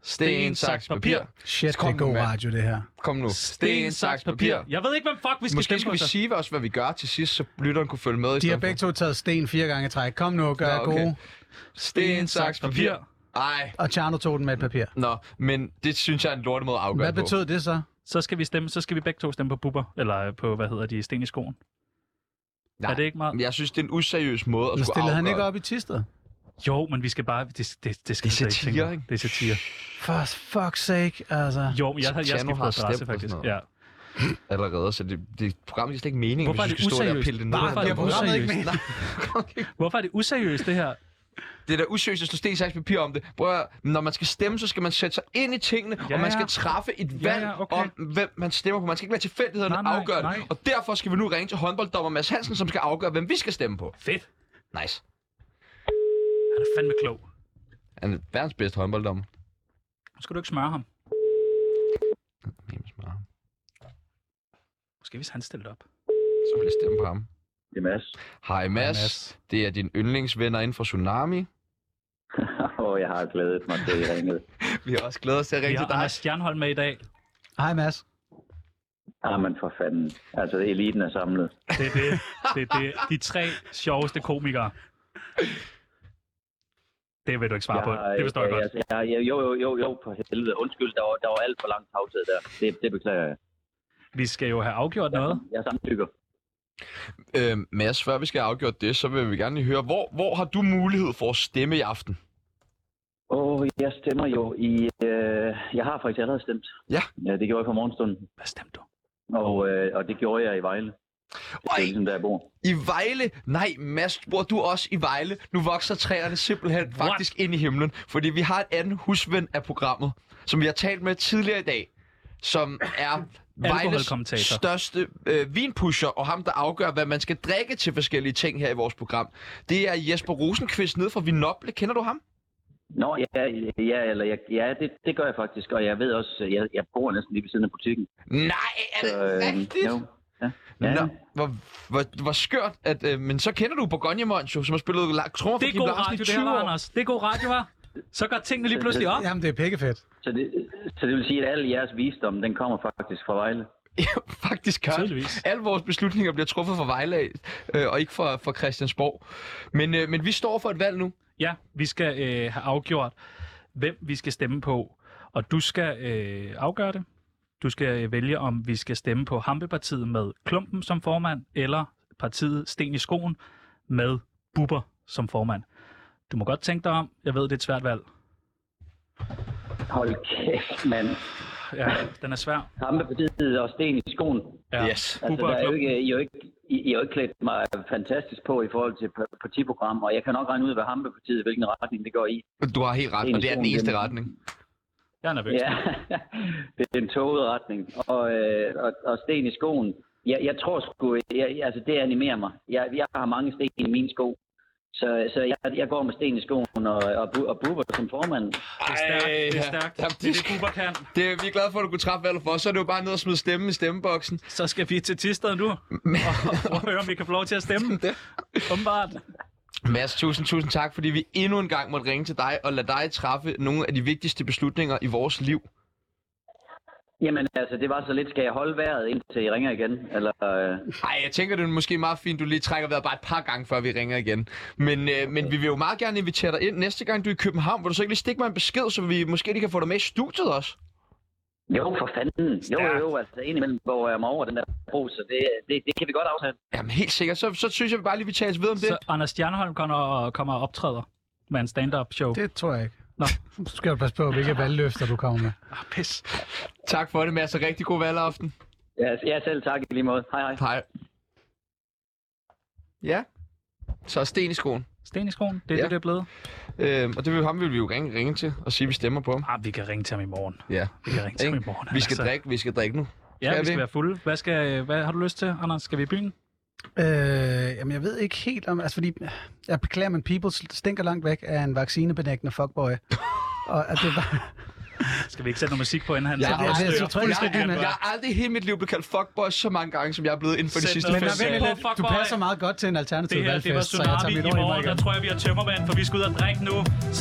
Sten, saks, papir.
[LAUGHS] Shit, det
Kom
er
nu,
god
mand.
radio, det her.
Kom nu. Sten, saks, papir.
Jeg ved ikke, hvem fuck vi skal
Måske
stemme
skal
på,
vi
så.
sige også, hvad vi gør til sidst, så lytteren kunne følge med. i
De har
stedet for.
begge to taget sten fire gange i træk. Kom nu, gør
Nå,
jer
okay.
gode.
Sten, saks, papir. Ej.
Og Tjerno tog den med et papir.
Nå, men det synes jeg er Mm. en lortemåde at afgøre
Hvad
på.
betød det så?
Så skal vi stemme, så skal vi begge to stemme på Bubber. Eller øh, på, hvad hedder de, Sten i skoen.
Nej,
Er det ikke meget?
Jeg synes, det er en useriøs måde at
Men
skulle
stillede han ikke
afgøre.
op i Tisted?
Jo, men vi skal bare... Det, det, det, skal
Det er
vi slet tænke
satire,
over.
ikke?
Det er satire.
For fuck's sake, altså.
Jo, men jeg, jeg, jeg
Tjano
skiftede
har
adresse,
stemt og
faktisk.
sådan
Ja.
noget. allerede, så det, det program giver slet ikke mening,
Hvorfor er
hvis
det
vi skal stå der og pille
useriøst?
det ned.
Hvorfor er det useriøst?
Nej,
Hvorfor er det useriøst, det her?
det er da useriøst at slå sten, saks, papir om det. Prøv at, høre, når man skal stemme, så skal man sætte sig ind i tingene,
Ja,
og man skal
ja.
træffe et
Ja,
valg
ja, okay.
om, hvem man stemmer på. Man skal ikke lade tilfældighederne
Nej, nej,
afgøre
nej.
det. Og derfor skal vi nu ringe til håndbolddommer Mads Hansen, som skal afgøre, hvem vi skal stemme på.
Fedt.
Nice.
Han er fandme klog.
Han er verdens bedste håndbolddommer.
Nu skal du ikke smøre ham.
Jamen, smart.
Måske hvis han stillede op.
Så vil jeg stemme på ham.
Det er Mads. [LAUGHS]
Hej Mads.
Mads.
Det er din yndlingsvenner inden for Tsunami.
Åh, jeg har glædet mig til, at I ringede.
Vi har også glædet os til at
Vi
ringe
har
til dig.
Anders Stjernholm med i dag.
Hej, Mads.
Ah, men for fanden. Altså, eliten er samlet.
Det er det. Det er det. De tre sjoveste komikere. Det vil du ikke svare på. Det forstår jeg godt.
Jeg, jeg, jeg, jo, jo, jo, jo, på helvede. Undskyld, der var, der var alt for lang tavshed der. Det, det beklager jeg.
Vi skal jo have afgjort noget.
Jeg samtykker.
Øh, Mads, før vi skal have afgjort det, så vil vi gerne lige høre, hvor, hvor har du mulighed for at stemme i aften?
Åh, oh, jeg stemmer jo i... Øh, jeg har faktisk allerede stemt.
Ja.
ja det gjorde jeg på morgenstunden.
Hvad stemte du?
Og, øh, og det gjorde jeg i Vejle.
Oj,
Det er ligesom, der jeg bor.
i Vejle? Nej, Mads, bor du også i Vejle? Nu vokser træerne simpelthen faktisk ind i himlen, fordi vi har en anden husven af programmet, som vi har talt med tidligere i dag, som er Vejles
Alkoholkommentator.
største øh, vinpusher, og ham, der afgør, hvad man skal drikke til forskellige ting her i vores program. Det er Jesper Rosenqvist nede fra Vinople. Kender du ham?
Nå, ja, ja, eller, ja, ja det, det gør jeg faktisk. Og jeg ved også, jeg, jeg bor næsten lige ved siden af butikken. øhm,
Nej, er det Øh, rigtigt?
Øh, jo. Ja.
Ja.
Ja.
Nå, hvor, hvor, hvor skørt, at, øh, men så kender du Borgonje Moncho, som har spillet la- trommer for
Det er
Kim
god
Larsen i
radio, det
20
her, var,
år.
Anders. Det er god radio, var. Så går tingene lige pludselig op.
Jamen, det er pikkefedt.
Så, det, så det vil sige, at al jeres visdom, den kommer faktisk fra Vejle.
Ja, Faktisk gør det.
Tydeligvis.
Alle vores beslutninger bliver truffet fra Vejle af, øh, og ikke fra, fra Christiansborg. Men, øh, men vi står for et valg nu.
Ja, vi skal øh, have afgjort, hvem vi skal stemme på. Og du skal øh, afgøre det. Du skal øh, vælge, om vi skal stemme på Hampepartiet med Klumpen som formand, eller partiet Sten i Skoen med Bubber som formand. Du må godt tænke dig om. Jeg ved, det er et svært valg.
Hold kæft, mand.
Ja, den er svær.
Hampepartiet og sten i skoen.
Ja.
Yes.
Altså,
Bubber
der
og
er jo
Klumpen.
ikke, I, er jo ikke, I, I har jo ikke klædt mig fantastisk på i forhold til p- partiprogram, og jeg kan nok regne ud, hvad Hampepartiet, hvilken retning det går i. [LAUGHS]
Du har helt ret, og det er den eneste retning.
Jeg er nervøs.
Ja, det er en toget retning. Og, øh, og, og sten i skoen. Jeg, jeg tror sgu, jeg, altså det animerer mig. Jeg, jeg har mange sten i min sko. Så, så jeg, jeg går med sten i skoen og, og, bu- og buber som formand.
Det er stærkt. Det er stærkt.
Jamen,
Det er
det,
det, Bubber kan.
det, er- vi er glade for, at du kunne træffe valget for os. Så er det jo bare ned og smide stemmen i stemmeboksen.
Så skal vi til Tisted nu, og, og høre, om vi kan få lov til at stemme. Åbenbart.
Mads, tusind, tusind tak, fordi vi endnu en gang måtte ringe til dig og lade dig træffe nogle af de vigtigste beslutninger i vores liv.
Jamen altså, det var så lidt, skal jeg holde vejret indtil I ringer igen? Eller, øh,
Ej, jeg tænker, det er måske meget fint, du lige trækker vejret bare et par gange, før vi ringer igen. Men, øh, men vi vil jo meget gerne invitere dig ind næste gang, du er i København. Vil du så ikke lige stikke mig en besked, så vi måske lige kan få dig med i studiet også?
jo, for fanden. Jo, jo, jo, altså indimellem hvor jeg mig over den der bro, så det, det, det kan vi godt aftale.
Jamen helt sikkert. Så, så synes jeg bare lige, vi tager os ved om det.
Så Anders Stjernholm kommer og, kommer og optræder med en stand-up show.
Det tror jeg ikke.
Nå.
Så skal du passe
[LAUGHS]
på, hvilke valgløfter du kommer med.
Ah, pis.
Tak for det, Mads, og rigtig god valgaften.
Ja, ja selv tak i lige måde. Hej, hej.
Hej. Ja, så sten i skoen.
Sten i skoen, det er ja.
Ja.
det, det er blevet.
Øh, og det vil, ham vil vi jo ringe, ringe til og sige, at vi stemmer på ham.
Ah, vi kan ringe til ham i morgen.
Ja.
Vi kan ringe til ham i
Ikke?
morgen.
Vi skal
altså.
drikke, vi skal drikke nu.
Ja,
Skal
vi skal
vi?
være fulde. Hvad, skal, hvad har du lyst til, Anders? Skal vi i byen?
Øh, jamen, jeg ved ikke helt om... Altså, fordi... Jeg beklager,
[LAUGHS]
men people stinker langt væk af en vaccinebenægtende fuckboy. Og at det var...
Skal vi ikke sætte noget musik på, inden han
Jeg, jeg, jeg, jeg,
afslører fuldstændig,
jeg,
hvad-
jeg er aldrig i hele mit liv blevet kaldt fuckboy så mange gange, som jeg er blevet inden for de
Sæt
sidste
noget
fem
fedt
dage.
på, fuckboy.
Du passer meget godt til en alternativ
Det her, det var
valgfest, så jeg
Tsunami
tager
i
mit ord i mig
morgen. Der
igen.
tror jeg, vi har tømmermand, for vi skal ud og drikke nu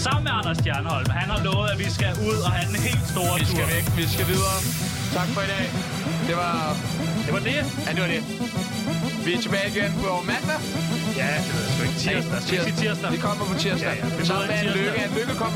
sammen med Anders Stjernholm. Han har lovet, at vi skal ud og have den helt store tur. Vi skal væk,
vi skal videre. Tak for i dag. Det var...
Det var det.
Ja, det var det. Vi er tilbage igen på mandag.
Ja, det ved jeg sgu ikke. Tirsdag. Skal vi sige tirsdag?
Vi kommer på tirsdag.
Ja, ja. Vi
Sammen
møder
med en
tirsdag.
lykke. En lykke kommer